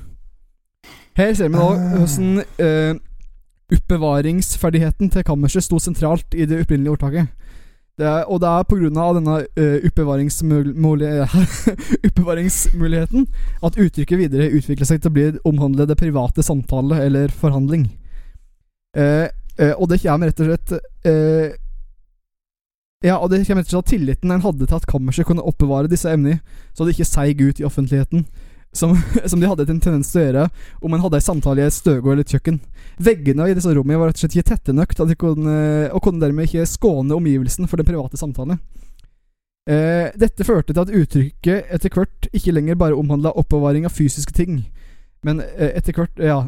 Her ser vi nå hvordan eh, Oppbevaringsferdigheten til kammerset sto sentralt i det opprinnelige ordtaket. Det er, og det er pga. denne eh, oppbevaringsmul- muli- oppbevaringsmuligheten at uttrykket videre utvikler seg til å bli omhandle det private samtale eller forhandling. Eh, eh, og det kommer rett og slett eh, Ja, og det kommer rett og slett av tilliten en hadde til at kammerset kunne oppbevare disse emnene, så det ikke seig ut i offentligheten, som, som de hadde en tendens til å gjøre om en hadde en samtale i et støgård eller et kjøkken. Veggene i disse rommene var rett og slett ikke tette nok til at de kunne, og kunne dermed ikke skåne omgivelsen for den private samtale. Eh, dette førte til at uttrykket etter hvert ikke lenger bare omhandla oppbevaring av fysiske ting, men eh, etter hvert ja.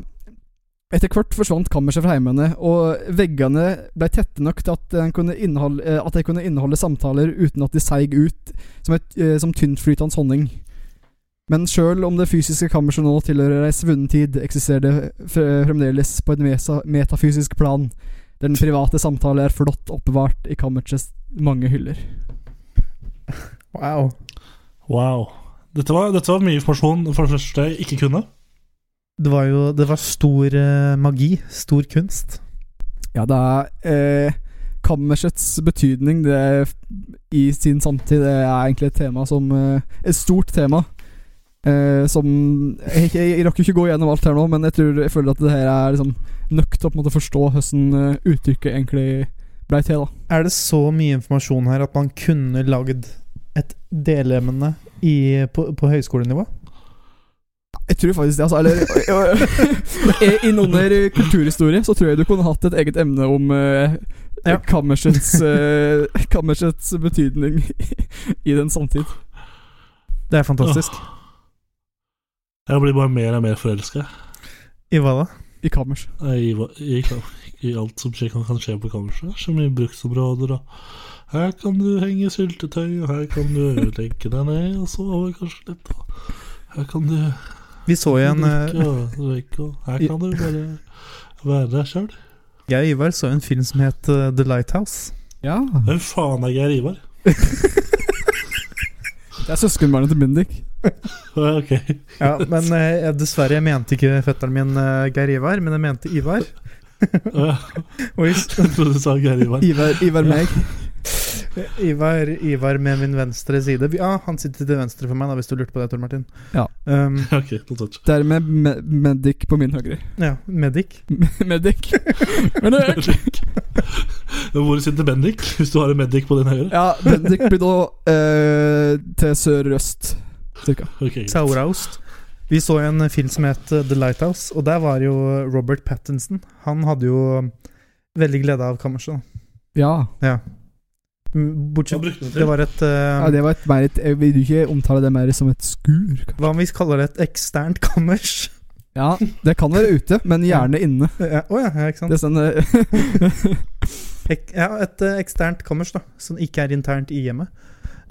Etter hvert forsvant kammerset fra heimene, og veggene ble tette nok til at de kunne inneholde, eh, at de kunne inneholde samtaler uten at de seig ut som, et, eh, som tyntflytende honning. Men sjøl om det fysiske kammerset nå tilhører ei svunnen tid, eksisterer det fre- fremdeles på et mesa- metafysisk plan. Den private samtale er flott oppbevart i kammerets mange hyller.
Wow.
Wow. Dette var, dette var mye informasjon for det første jeg ikke kunne.
Det var jo Det var stor eh, magi. Stor kunst.
Ja, det er eh, Kammersets betydning det er, f- i sin samtid det er egentlig et tema som eh, Et stort tema. Eh, som jeg, jeg, jeg rakk jo ikke gå gjennom alt her nå, men jeg tror jeg føler at det her er liksom nøkt til å på en måte forstå hvordan eh, uttrykket egentlig blei til. da
Er det så mye informasjon her at man kunne lagd et delemne i, på, på høyskolenivå?
Jeg tror faktisk det, altså. Eller Innunder kulturhistorie så tror jeg du kunne hatt et eget emne om eh,
Ja.
kammersets, eh, kammersets betydning i den samtid.
Det er fantastisk.
Ah. Jeg blir bare mer og mer forelska
I hva da?
I kammers.
i, hva- i, i alt som skje, kan, kan skje på kammerset. Så mye bruksområder og Her kan du henge syltetøy, og her kan du legge deg ned og sove kanskje litt. og Her kan du
Vi så jo en eh,
drikke og drikke, og her kan du bare være deg sjøl.
Jeg og Ivar så en film som het eh, The Lighthouse.
Ja.
Hvem faen er Geir Ivar?
Det er søskenbarnet til Bendik.
Ja, Ok.
Ja, men eh, jeg- dessverre, jeg mente ikke fetteren min eh, Geir Ivar, men jeg mente Ivar.
Jeg
Og i-
trodde du sa Geir Ivar.
Ivar, Ivar meg.
Ivar, Ivar med min venstre side. Vi- Ja, han sitter til venstre for meg, da, hvis du lurte på det, Tor Martin.
Ja.
Um,
Ok, notert.
Dermed me Medic på min høyre.
ja medic.
medic. Men det er-
Men Hvor sitter Bendik, hvis du har en Bendik på din høyre?
ja, Bendik blir da eh, til sørøst, cirka.
Ok, greit.
Sauroust. Vi så en film som het eh, The Lighthouse, og der var jo Robert Pattinson. Han hadde jo eh, veldig glede av kammerset. da.
Ja.
Mm,
Hva
Bortsett
brukte den
Det
til?
var et eh,
ja det var et mer et, Jeg vil ikke omtale det mer som et skur. kanskje.
Hva om vi kaller det et eksternt kammers?
Ja, Det kan være ute, men gjerne inne.
Å ja, å ja, ja, ikke sant?
Det er sånn eh,
Ek, ja, et eh, eksternt kammers da, som ikke er internt i hjemmet.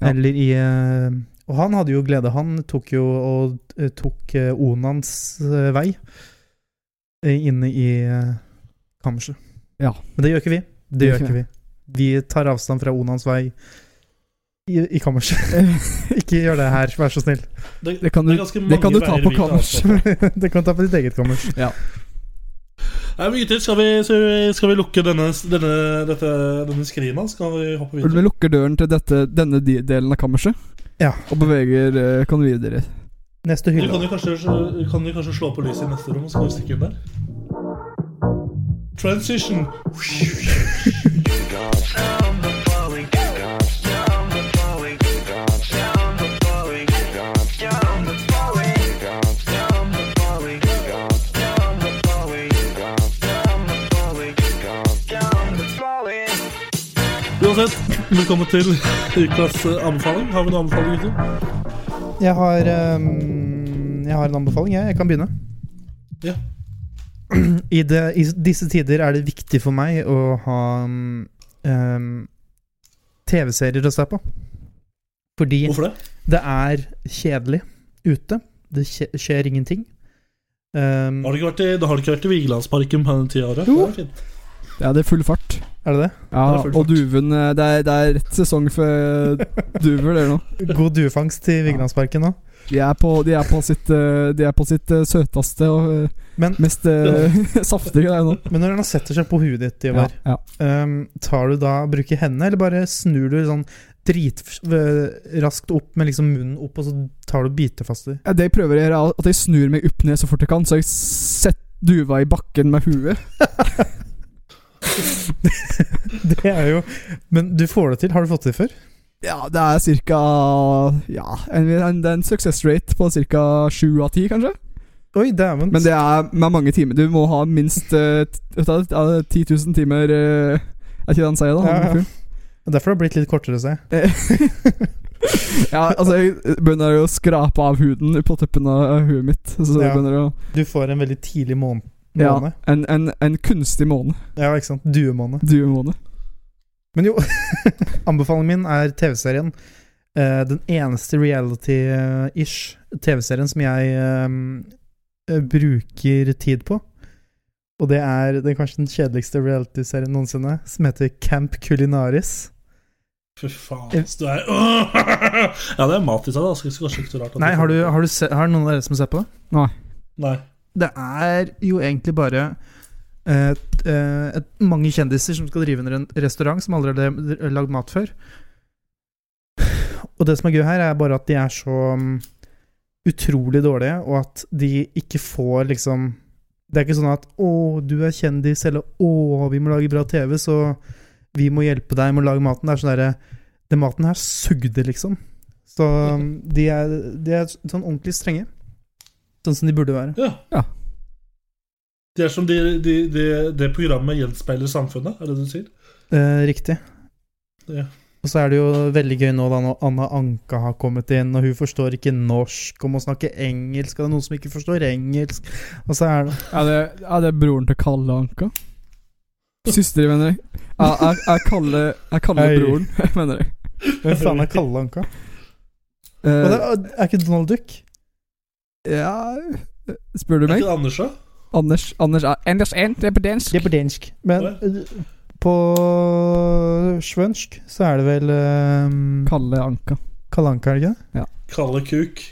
Ja.
Eller i eh, Og han hadde jo glede. Han tok jo og eh, tok eh, Onans eh, vei eh, inne i eh, kammerset.
Ja.
Men det gjør ikke vi. Det, gjør ikke vi. Vi tar avstand fra Onans vei i, i kammerset. ikke gjør det her, vær så snill.
Det kan du,
Det er ganske mange
det kan du ta
veier altså.
på
vi tar,
kammers.
det kan ta på ditt eget kammers.
Nei, men gutter, skal vi, skal vi- skal vi lukke denne, denne, dette, denne skrina? Skal vi hoppe
Når du
videre?
lukker døren til dette, denne di- delen av kammerset
Ja.
og beveger eh, Kan du videre.
Neste
Du
hylle.
kan, jo kanskje, kan vi kanskje slå på lyset i neste rom, og så kan vi stikke inn der? Transition. Uansett, velkommen til ukas eh, anbefaling. Har vi noen anbefaling, gutter?
Jeg har, ehm, jeg har en anbefaling. Jeg, jeg kan begynne.
Ja.
I, det, I disse tider er det viktig for meg å ha ehm, TV-serier å se på. Fordi
Hvorfor det?
det er kjedelig ute. Det skje- skjer ingenting. Ehm,
Har du ikke vært i, da har du ikke vært i Vigelandsparken på den tida? Are?
Jo.
Det er fint.
Ja, det er full fart.
er det det?
Ja,
Det er full
og duven eh, det er, det er rett sesong for duver, det nå.
God duefangst i Vigelandsparken nå.
De er på, de er på sitt, eh, de er på sitt eh, søteste og eh,
Men,
mest eh, saftige der nå.
men når den setter seg på huet ditt, Ivar,
ja.
Ehm, tar du da bruker hendene, eller bare snur du sånn dritraskt opp med liksom munnen opp, og så tar du og biter fast i?
Ja, Det jeg prøver å gjøre, er at jeg snur meg opp ned så fort jeg kan, så jeg setter duva i bakken med huet.
Det er jo Men du får det til. Har du fått det til før?
Ja, det er ca. Ja, en, en, det er en success rate på ca. sju av ti, kanskje.
Oi, dæven.
Men det er med mange timer. Du må ha minst eh, t- vet du hva, eh, 10 000 timer eh, Er ikke det han sier, da?
Ja, ja.
Han fyren?
Derfor har det blitt litt kortere, ser jeg.
ja, altså, jeg begynner jo å skrape av huden på tuppen av huet mitt. Så jeg
Ja.
begynner å
Du får en veldig tidlig mån
Ja,
måned.
en, en, en kunstig måne.
Ja. ikke sant. Duemåned.
Duemåne.
Men jo, anbefalingen min er TV-serien. Eh, den eneste reality-ish TV-serien som jeg eh, eh, bruker tid på. Og det er den kanskje den kjedeligste reality-serien noensinne, som heter Camp Culinaris.
Fy faen, ass, du er Åh! Ja, det er mat i seg, da. Skal kanskje ikke så rart at
Nei, har, du, har, du se, har noen av dere som ser på det?
Nei.
Det er jo egentlig bare eh, et, eh, et, mange kjendiser som skal drive under en restaurant som aldri har lagd mat før. Og det som er gøy her, er bare at de er så mm, utrolig dårlige, og at de ikke får liksom Det er ikke sånn at 'Å, du er kjendis', eller 'Å, vi må lage bra TV', så vi må hjelpe deg med å lage maten. Det er sånn derre Den maten her sugde, liksom. Så mm, de er, de er sånn ordentlig strenge. Sånn som de burde være.
Ja.
Ja.
Det er som de, de, de, det programmet gjenspeiler samfunnet, er det du sier?
Eh, riktig.
Ja.
Og så er det jo veldig gøy nå da når Anna Anka har kommet inn, og hun forstår ikke norsk og må snakke engelsk, og det er noen som ikke forstår engelsk Og så er det
Er det, er det broren til Kalle Anka? Søster, mener jeg. Er, er, er Kalle, er Kalle
Hei.
broren, mener jeg.
Hvem faen er Kalle Anka? Og det
Eh,
er, er ikke Donald Duck?
ja Spør du
Er
meg?
ikke det Anders, da?
Anders Anders er Anders 1, det er på dansk.
Det er på dansk. Men eh, på svensk så er det vel eh,
Kalle Anka.
Kalle Anka, er det ikke?
Kalle kuk.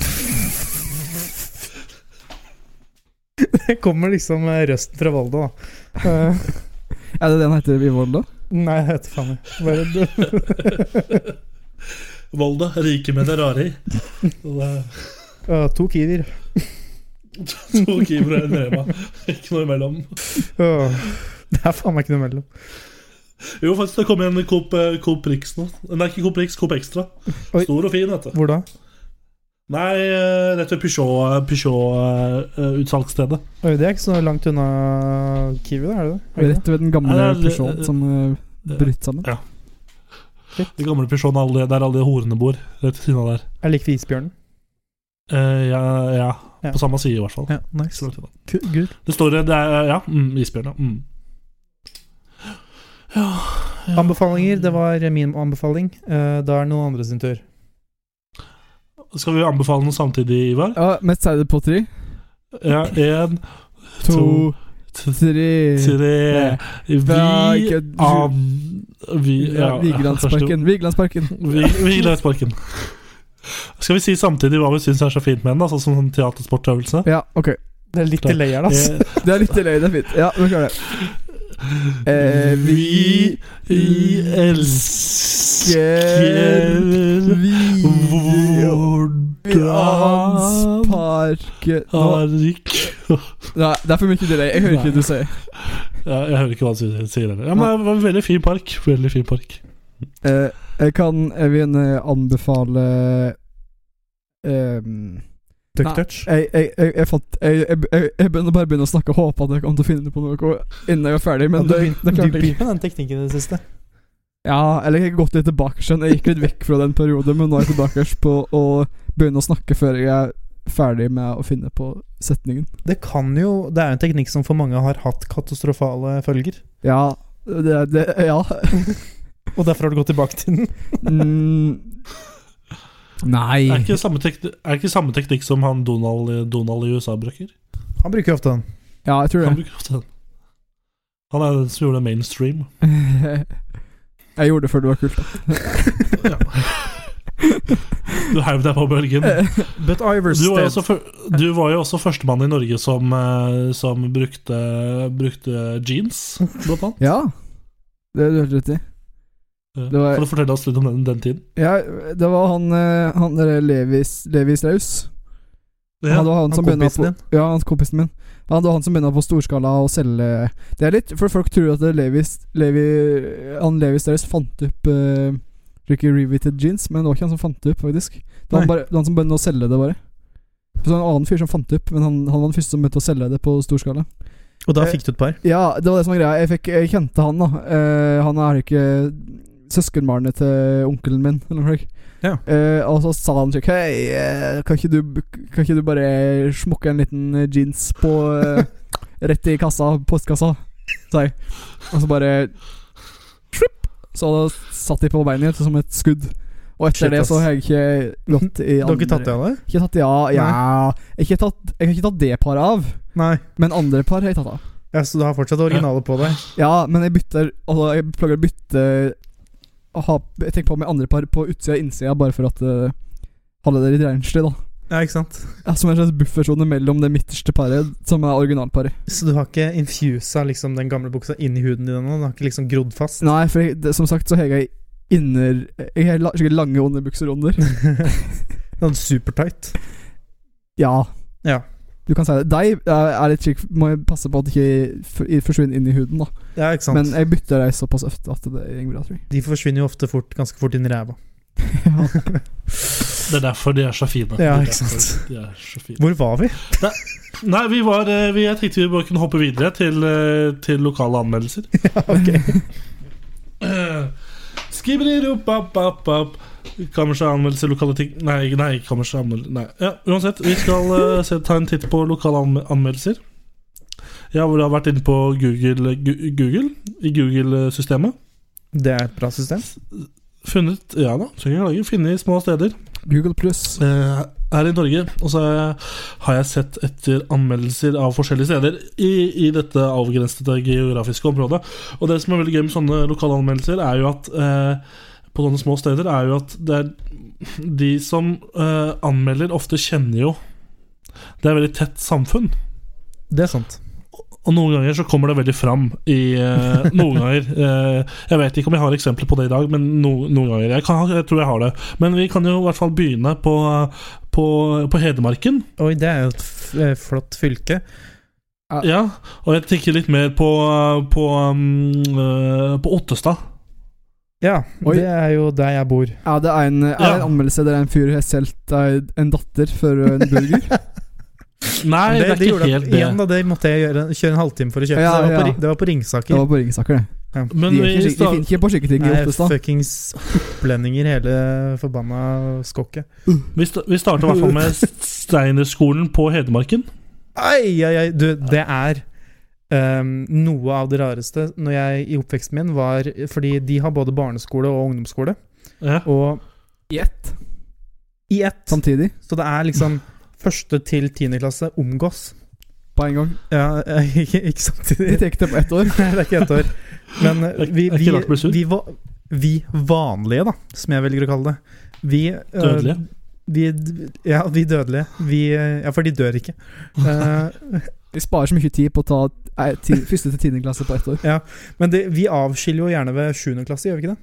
Det kommer liksom eh, røsten fra Volda, da. Eh,
Er det det han heter i Volda?
nei, jeg vet faen ikke. Bare det-
Volda, rike menn er rare i. Og det er
Eh, to kiwier.
To keepere og en rema. Ikke noe imellom.
Eh, det er faen meg ikke noe mellom.
Jo, faktisk, det kom en Coop, eh, Coop Rix nå. Nei, ikke Coop Rix, Coop Extra.
Oi.
Stor og fin, vet du.
Hvor da?
Nei, eh, rett ved Peugeot-utsalgsstedet. Peugeot, eh, utsalgsstedet.
Oi, det er ikke så langt unna Kiwi, da? er det det? Er det det?
Rett ved den gamle
Ja, det er-
Peugeot som eh, bryter sammen.
De gamle Peugeoten, alle, der alle de horene bor. Rett ved siden av der.
Er det like ved isbjørnen?
Eh, ja, ja,
Ja.
på samme side, i hvert fall.
Ja,
Ikke så
nice.
langt unna.
Ku- Good.
Det står det er, Ja, mm, isbjørn, ja. Mm. ja. ja.
Anbefalinger, det var min anbefaling. Eh, da er det noen andre sin tur.
Skal vi anbefale noe samtidig, Ivar?
Ja, Mest seriøse på tre.
Ja, én, to,
To, tre
tre
Nei,
Vi
ikke-
an... Vi,
ja, Vigelandsparken. Vigelandsparken.
Vi, Vigelandsparken. Skal vi si samtidig hva vi syns er så fint med den? da, Sånn som sånn teatersportøvelse?
Ja, ok.
Det er litt delay her, da. ass.
Eh,
Det er litt løy, det er fint. Ja, vi klarer det. Eh, vi
vi elsker
Gel-
Hvordan
Vigelandsparken Nå-
har ikke
Nei, det er for mye delay. Jeg hører ikke det du sier.
ja, Jeg hører ikke hva du sier heller. Ja, men det var en veldig fin park. Veldig fin park.
Eh, jeg kan jeg vil eh, anbefale ehm,
Duck
Nei.
touch.
jeg, jeg, jeg, jeg fant Jeg, jeg, jeg, jeg begynner bare begynne å snakke og håpe at jeg kommer til å finne på noe innen jeg er ferdig, men
du
det,
begynte
det
du
klarte jeg ikke.
begynte med den teknikken i det siste.
Ja, eller jeg har gått litt tilbake skjønn. Jeg gikk litt vekk fra den perioden, men nå er jeg tilbake på å begynne å snakke før jeg er ferdig med å finne på setningen.
Det kan jo Det er jo en teknikk som for mange har hatt katastrofale følger.
Ja, det, det Ja.
Og derfor har du gått tilbake til den.
Mm.
Er
Nei.
ikke samme teknikk, er ikke samme teknikk som han Donald, Donald i USA bruker?
Han bruker jo ofte den.
Ja, jeg tror
Han
det.
bruker ofte den. Han er den som gjorde mainstream.
Jeg gjorde det før det var kult.
Ja. Du heiv deg på bølgen.
But Ivers
Du var, jo også, fyr- du var jo også førstemann i Norge som, eh, som brukte, brukte jeans, blant annet.
Ja. Det du helt rett i.
Eh,
Det var-
Kan du fortelle oss litt om den, den tiden?
Ja, det var han, eh, han der Levis, Levis Raus.
Ja,
han, det var han,
han
som begynner
kompisen
på, Ja, han kompisen min. Han, det var han som begynna på storskala å selge Det er litt For folk tror at det er Levis, Levi, han Levis deres fant opp uh, Ricky Riveted Jeans, men det var ikke han som fant det opp, faktisk. Det var
Nei.
han, bare, det var han som begynte å selge det, bare. Så det var en annen fyr som fant det opp, men han, han var den første som begynte å selge det på storskala.
Og da fikk du et par.
Ja, det var det som var greia. Jeg, fikk, jeg kjente han, da. Eh, han er ikke søskenbarnet til onkelen min, eller noe slikt.
Ja.
Eh, og så sa han slik Hei, eh, kan, ikke du- kan ikke du bare smukke en liten eh, jeans på eh, Rett i kassa, postkassa, sa jeg. Og så bare Slipp! Så da satt de på beinet igjen som et skudd. Og etter
Shit,
det så
ass.
har jeg ikke gått i
Du har ikke tatt det av deg?
Ikke tatt det av? Ja. Jeg, har ikke tatt, jeg har ikke tatt det paret av,
Nei.
men andre par har jeg tatt av.
Ja, så du har fortsatt det originale på deg?
Ja, men jeg bytter Altså, jeg plager å bytte å ha, Jeg tenker på med andre par på utsida og innsida, bare for at uh, Holde det litt renslig, da.
Ja, ikke sant?
Ja, som en slags buffersone mellom det midterste paret, som er originalparet.
Så du har ikke infusa liksom, den gamle buksa inn i huden din ennå? Den har ikke liksom grodd fast?
Nei, for jeg, det, som sagt så har jeg inner Jeg har la, skikkelig lange underbukser under.
Den er Sånn supertight.
Ja.
Ja.
Du kan si det. Deg er er litt kikk Må jeg passe på at det ikke for- i- forsvinner inn i huden, da.
Ja, ikke sant?
Men eh, jeg bytter deg såpass ofte at det går bra, tror jeg.
De forsvinner jo ofte fort, ganske fort inn i ræva.
Det er derfor de er så fine.
Ja,
Det er
ikke
derfor
sant?
De er så fine.
Hvor var vi?
Nei, vi var, eh, vi, jeg tenkte vi bare kunne hoppe videre til, eh, til lokale anmeldelser. Eh,
Ja, ok.
Skibri-rup-bap-bap-bap. Kammerset anmeldelser, lokale ting Nei, nei kammerset anmeldelser Nei. Ja, uansett, vi skal eh, se, ta en titt på lokale anme- anmeldelser. Jeg har da vært inne på Google, Gu- Google i Google-systemet.
Det er et bra system.
Funnet Ja da, skal ikke klage. Funnet små steder
Google pluss.
eh, her i Norge. Og så har jeg- har jeg sett etter anmeldelser av forskjellige steder i, i dette avgrensede geografiske området. Og det som er veldig gøy med sånne lokale anmeldelser, er jo at eh, på sånne små steder, er jo at det er de som eh, anmelder, ofte kjenner jo Det er veldig tett samfunn.
Det er sant.
Og noen ganger så kommer det veldig fram i eh, Noen ganger eh, Jeg vet ikke om jeg har eksempler på det i dag, men no, noen ganger. Jeg, kan, jeg tror jeg har det. Men vi kan jo i hvert fall begynne på, på, på Hedmarken.
Oi, det er jo et f eh, flott fylke.
Ja, og jeg tenker litt mer på På, um, eh, på Ottestad.
Ja,
Oi.
det er jo der jeg bor.
Ja, det er en, er det
Ja.
en anmeldelse der en fyr har solgt ei- en datter for en burger.
Nei, det, er ikke
gjorde at-
helt det.
Igjen, da, det måtte jeg gjøre, kjøre en halvtime for å kjøpe.
Ja,
så det, var på,
ja.
Ri- det var på Ringsaker.
Det var på Ringsaker, det.
Men
de, er
vi
ikke, skik- de
sta-
finner ikke på slike ting i
Nei,
Ottestad.
fuckings opplendinger, hele forbanna skokket.
Vi, sta- vi starter i hvert fall med Steinerskolen på Hedmarken.
Ai, ai, ai. Du, det er ehm, noe av det rareste når jeg, i oppveksten min var Fordi de har både barneskole og ungdomsskole.
Ja.
Og
I ett.
i ett.
Sånn.
Samtidig.
Så det er liksom første til tiende klasse omgås.
På en gang.
Ja, ikke, ikke
De
samtidig.
tar ikke det på ett år.
Nei, det er ikke ett år. Men eh, vi,
Det er
vi,
ikke rart å bli sur.
vi, va- vi vanlige, da, som jeg velger å kalle det. Vi, eh,
Dødelige.
Vi, ja, vi dødelige. Vi, eh, ja, for de dør ikke. Eh,
De sparer så mye tid på å ta nei, ti, første til tiende klasse på ett år.
men det, vi avskiller jo gjerne ved sjuende klasse, gjør vi ikke det?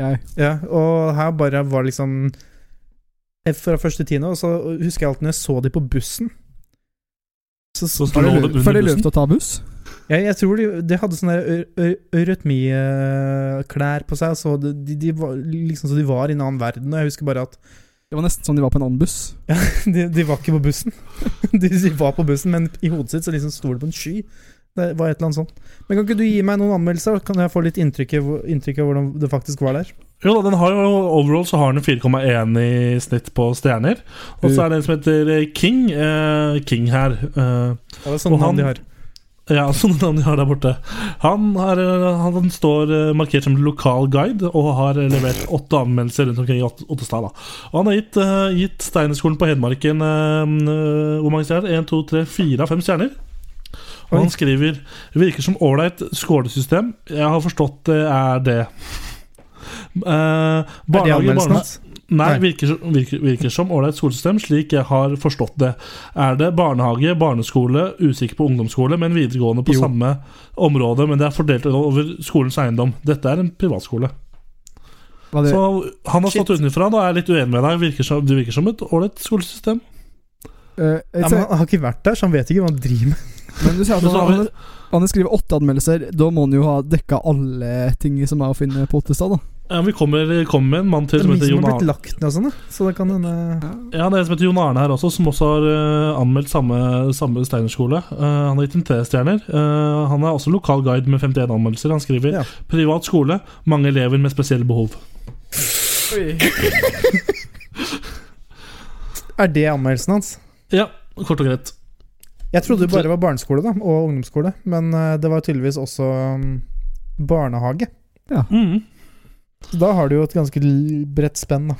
Jeg,
Ja, og her bare var liksom eh, Fra første tiende, og så husker jeg alltid når jeg så de på bussen. Så,
Så
var det
lå
løv,
det
var
under
det løv
bussen.
til å ta buss?
Jeg, jeg tror de, de hadde sånne eurytmiklær på seg, så de, de, de var liksom så de var i en annen verden. Og jeg husker bare at
Det var nesten som de var på en annen buss.
de, de var ikke på bussen. De, de var på bussen, men i hodet sitt så liksom sto det på en sky. Det var et eller annet sånt. Men kan ikke du gi meg noen anmeldelser, så kan jeg få litt inntrykk av hvor- inntrykk av hvordan det faktisk var der?
Jo da, den har jo overall så har den 4,1 i snitt på stjerner. Og så er det en som heter eh, King. eh, King her. eh,
Ja, det er sånn
Og han-
navn de har.
ja, sånn han de har der borte. Han, er, eh, han står eh, markert som lokal guide og har eh, levert åtte anmeldelser rundt omkring i Ott- Ottestad. da. Og han har gitt, uh, gitt Steinerskolen på Hedmarken eh, eh, hvor mange stjerner? Én, to, tre, fire av fem stjerner. Og
Oi.
han skriver Virker som ålreit skolesystem. Jeg har forstått det er det. Uh,
Er de anmeldelsene hans?
Nei,
Nei.
virker, som- virker, virker som ålreit skolesystem, slik jeg har forstått det. Er det barnehage, barneskole, usikker på ungdomsskole, men videregående på
Jo.
samme område, men det er fordelt over skolens eiendom. Dette er en privatskole.
Var det,
Så han har
Shit.
stått utenfra, da er jeg litt uenig med deg. Virker som, det virker som et ålreit skolesystem.
Eh,
Ja, men
jeg ser-
han har ikke vært der, så han vet ikke hva han driver med.
men du sier at
Men så har
han,
vi-
han, han skriver åtte anmeldelser. Da må han jo ha dekka alle ting som er å finne på Ottestad, da.
Ja, vi kommer, kommer med en mann til
Det er
som
mye
heter
som
Jon
har blitt
Arne.
lagt ned og sånn, da. så det kan hende
Ja, det er en som heter Jon Arne her også, som også har eh, anmeldt samme, samme Steinerskole. Eh, han har gitt en T-stjerner. Eh, han er også lokal guide med 51 anmeldelser. Han skriver
Ja.
privat skole, mange elever med spesielle behov.
Er det anmeldelsen hans?
Ja, kort og greit.
Jeg trodde det bare var barneskole da, og ungdomsskole, men eh, det var tydeligvis også mm, barnehage.
Mm.
Så da har du jo et ganske l- bredt spenn, da.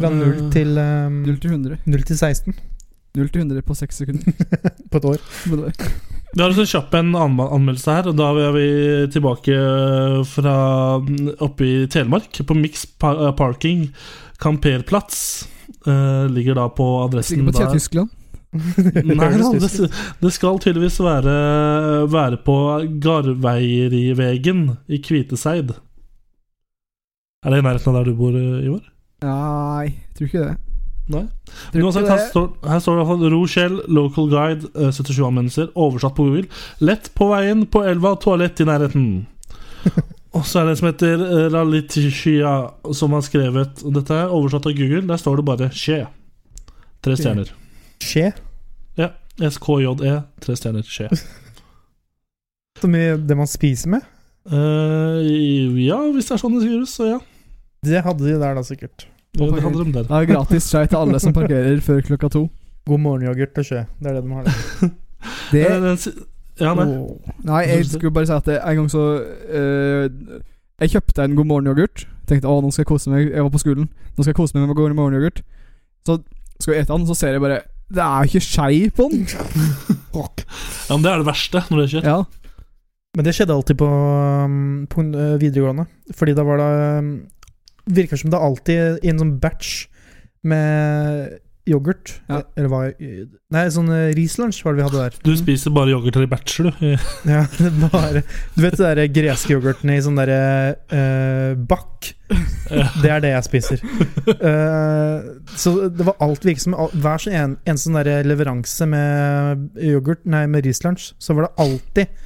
Fra
Mm.
0 til, um,
0 til 100.
0 til 16
0 til 100 på seks sekunder.
på et år.
Vi har også kjapp en anma- anmeldelse her, og da er vi tilbake eh, fra mm, oppe i Telemark. På Mix Pa- eh, Parking Kamperplats. Eh, ligger da på adressen
Sikkert på
der.
Tyskland.
Nei,
Høres
da,
tysk ut.
det, det skal tydeligvis være, være på Garveierivegen i Kviteseid. Er det i nærheten av der du bor, eh, Ivar?
Nei, jeg tror ikke det.
Nei.
Tror
Men
ikke
Uansett,
det.
her står, her står det i hvert fall Rochelle, local guide, eh, 77 anmeldelser, oversatt på Google. Lett på veien, på elva, toalett i nærheten. Og så er det en som heter eh, Ralitishia, som har skrevet og Dette er oversatt av Google, der står det bare 'skje'. Tre stjerner.
Skje.
Ja. SKJE, E, tre stjerner, skje.
Så mye det man spiser med.
Eh, ja, hvis det er sånn det skrives, så ja.
Det hadde de der, da, sikkert.
Det handler om det.
Det er gratis skei til alle som parkerer før klokka to.
God morgen-yoghurt og skje. Det er det de har der.
Det
Eh, den si- Ja,
Oh.
nei.
Nei, jeg skulle bare si at jeg- en gang så eh, Jeg kjøpte en God morgen-yoghurt. Tenkte å, nå skal jeg kose meg Jeg var på skolen. Nå skal jeg kose meg med God morgen-yoghurt. Så skal jeg ete den, så ser jeg bare Det er jo ikke skei på den!
Ja, men det er det verste når det skjer.
Ja,
Men det skjedde alltid på, um, på uh, videregående. Fordi da var det um, Virker som det alltid i en sånn batch med yoghurt.
Ja.
Eller hva Nei, sånn eh, rislunsj var det vi hadde der. Mm.
Du spiser bare yoghurt til i bachelor, du.
Ja, det er bare Du vet de der greske yoghurtene i sånn derre eh, bakk? Det er det jeg spiser. Eh, så det var alt virksomhet. al- Hver så en, en sånn derre leveranse med yoghurt, nei, med rislunsj, så var det alltid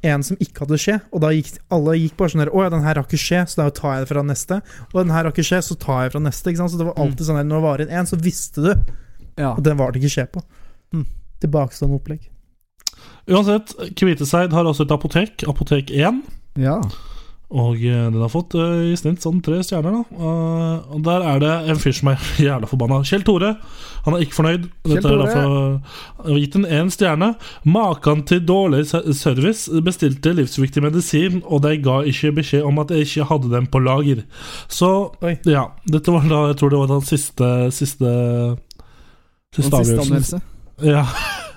en som ikke hadde skje. Og da gikk alle gikk bare sånn der Å ja, den her har ikke skje, så da tar jeg det fra neste. Og den her har ikke skje, så tar jeg fra neste. Ikke sant? Så det var alltid sånn der når det var igjen en, så visste du at
Ja.
den var det ikke skje på.
Mm.
Tilbakestående opplegg.
Uansett, Kviteseid har også et apotek, Apotek 1.
ja.
Og eh, den har fått eh, i snitt sånn tre stjerner, da. Eh, og der er det en fyr som er jævla forbanna. Kjell Tore. Han er ikke fornøyd.
Kjell
Dette er
Tore.
derfor jeg har gitt den én stjerne. Makan til dårlig se- service. Bestilte livsviktig medisin, og de ga ikke beskjed om at jeg ikke hadde den på lager. Så
Oi.
ja, dette var da Jeg tror det var den siste Siste,
Den
siste
siste
avgjørelsen.
anmeldelse.
Ja.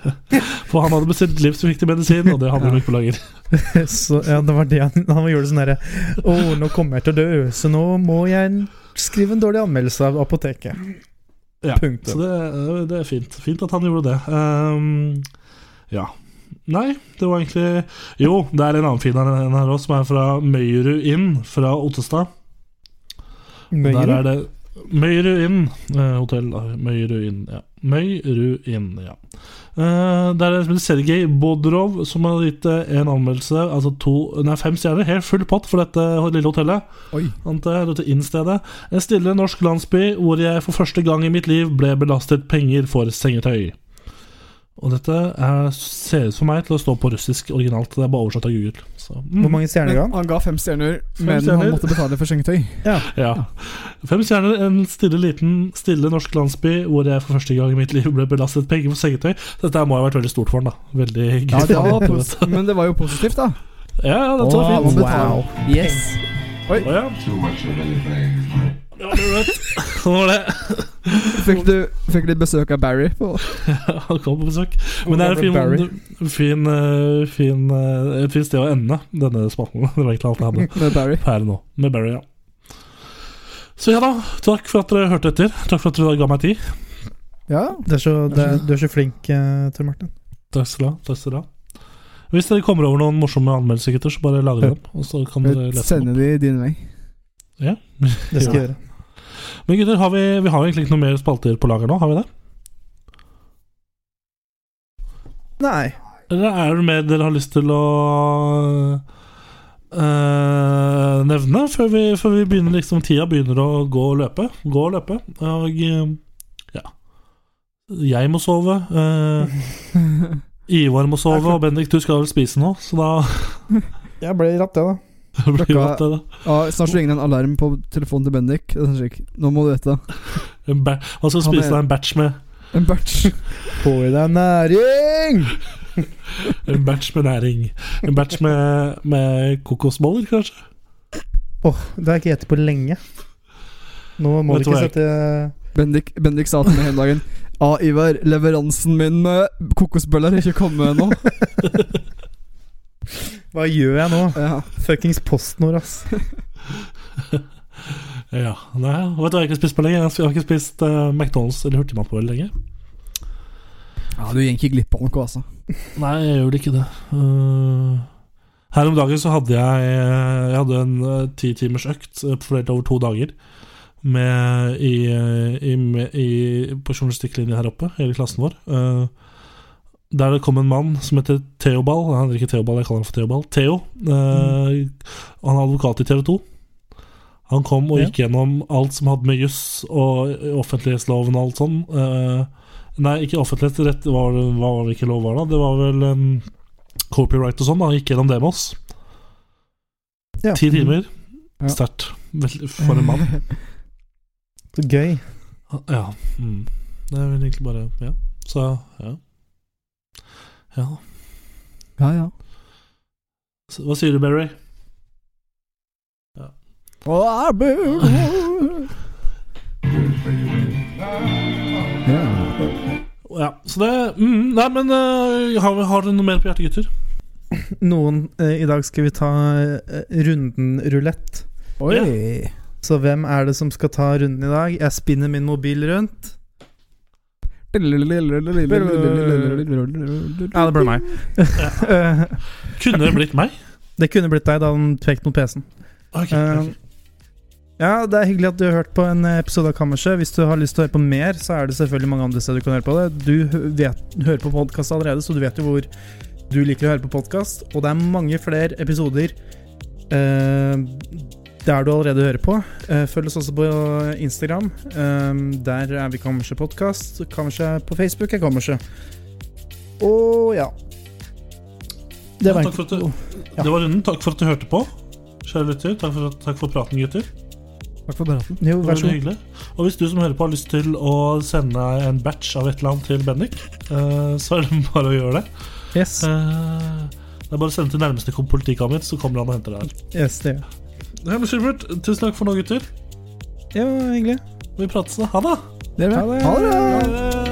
For han hadde bestilt livsviktig medisin, og det hadde de ikke på lager.
Så, ja, det var det han, han gjorde sånn herre Å, nå kommer jeg til å dø, så nå må jeg skrive en dårlig anmeldelse av apoteket.
Ja,
Punktum.
Så det, det er fint. Fint at han gjorde det. Ehm, ja. Nei, det var egentlig Jo, det er en annen fin en her òg, som er fra Møyerud inn fra Ottestad. Der er det Møyerud inn eh, hotell. da. Møyerud inn, ja. Møyerud inn, ja. Eh, det er en som heter Sergej Bodrov som har gitt eh, en anmeldelse, altså to, nei, fem stjerner, helt full pott for dette lille hotellet.
Oi.
Ante, dette innstedet. En stille norsk landsby hvor jeg for første gang i mitt liv ble belastet penger for sengetøy. Og dette er, ser ut for meg til å stå på russisk originalt. Det er bare oversatt av Google. Så,
Hvor
mm,
mange stjerner
Men
ga han?
han ga fem stjerner,
Fem
men
stjerner.
han måtte betale for sengetøy.
ja. Fem stjerner, en stille, liten, stille norsk landsby hvor jeg for første gang i mitt liv ble belastet penger for sengetøy. Dette her må ha vært veldig stort for han, da. Veldig
Ja,
gøy.
det var pos men det var jo positivt, da.
Ja, ja, dette var
Åh,
fint.
han betaler. Yes.
Å, ja. Det var det, vet du. Sånn var det.
Fikk du fikk litt besøk av Barry? På.
Han kom på besøk. Men det er en
Barry.
fin, fin, eh, fin, eh, et fint sted å ende denne spalten. Det var egentlig alt jeg hadde
Med Barry.
per nå, med Barry, ja. Så ja da, takk for at dere hørte etter. Takk for at dere ga meg tid.
Ja.
Det er så, det, er- du er så flink, eh, Tor Martin.
Takk skal dere ha. takk skal dere ha. Hvis dere kommer over noen morsomme anmeldelser, gutter, så bare lager dem. Og så kan dere lese dem.
Sende de din vei.
Ja.
Det skal jeg gjøre.
Men gutter, har vi, vi har jo egentlig ikke noe mer spalter på lager nå, har vi det?
Nei.
Eller er det mer dere har lyst til å eh, nevne før vi, før vi begynner liksom Tida begynner å gå og løpe. Gå og løpe. Og eh, ja Jeg må sove. eh, Ivar må sove, og Bendik, du skal vel spise nå, så da
Jeg ble ratt, jeg, da.
blir det at det
Ja, snart så ringer det en alarm på telefonen til Bendik. Det er sånn slik, Nå må du vite det.
eh, en ba- Han skal
Han er-
spise deg en batch med
En batch.
Få i deg næring!
En batch med næring. En batch med, med kokosboller, kanskje.
Åh, det har jeg ikke spist på lenge. Nå må
Vet du
du ikke
hva jeg-
sette
Bendik, Bendik sa til meg hele dagen Ja, Ivar, leveransen min med kokosbøller er ikke kommet ennå.
Hva gjør jeg nå?
Ja.
Fuckings PostNord, ass.
Ja, nei, Vet du hva jeg ikke har spist på lenge? Jeg har ikke spist eh, McDonald's eller hurtigmat på veldig lenge.
ja, du gikk ikke glipp av noe, altså.
Nei, jeg gjør det ikke det. Eh, her om dagen så hadde jeg Jeg hadde en eh, ti timers økt eh, fordelt over to dager med, i, eh, i, med, i, på journalistikklinja her oppe, hele klassen vår. eh, der det kom en mann som heter Theobal. Nei, Han heter ikke Theobal, jeg kaller han for Theobal. Theo. eh, Han er advokat i TV 2. Han kom og
Ja.
gikk gjennom alt som hadde med juss og offentlighetsloven og alt sånn. eh, Nei, ikke offentlighetsrett hva, var det- hva var det ikke lov var da? Det var vel em, copyright og sånn da, gikk gjennom det med oss.
Ja. Mm.
Ti timer.
Ja.
Sterkt. Veldig- For en mann.
Så gøy.
Ja. Mm. Det er vel egentlig bare Ja. Så ja. Ja.
Ja, ja.
Så, hva sier du, Barry?
Å, bu- Ja.
Ja, så det mm, Nei, men eh, har, har du noe mer på hjertet, gutter?
Noen eh, I dag skal vi ta eh, runden rulett.
Oi.
Så hvem er det som skal ta runden i dag? Jeg spinner min mobil rundt.
Ja, det ble meg.
Kunne det blitt meg?
Det kunne blitt deg da han pekte mot PC-en.
Ok,
Eh, Ja, Det er hyggelig at du har hørt på en episode av Kammerset. Hvis du har lyst til å høre på mer, så er det selvfølgelig mange andre steder du kan høre på det. Du hø- vet, hører på podkast allerede, så du vet jo hvor du liker å høre på podkast. Og det er mange flere episoder eh, der du allerede hører på. Eh, følg oss også på Instagram. Eh, der er vi Kammerset Podkast. Kammerset på Facebook er Kammerset. Og ja. Det
Ja,
var
takk for at
egentlig
du- Det var runden. Takk for at du hørte på. Kjære lytter, takk for, takk for praten, gutter.
Takk for praten.
Jo,
Det
vær
var veldig
så god.
hyggelig. Og hvis du som hører på har lyst til å sende en batch av et eller annet til Bendik, eh, så er det bare å gjøre det.
Yes,
Eh, Det er bare å sende til nærmeste kom- politikammer, så kommer han og henter deg.
yes, det.
Det blir supert. Tusen takk for nå, gutter.
Ja, hyggelig.
Vi prates. Ha det!
Det er bra. Ha det!
Ha det.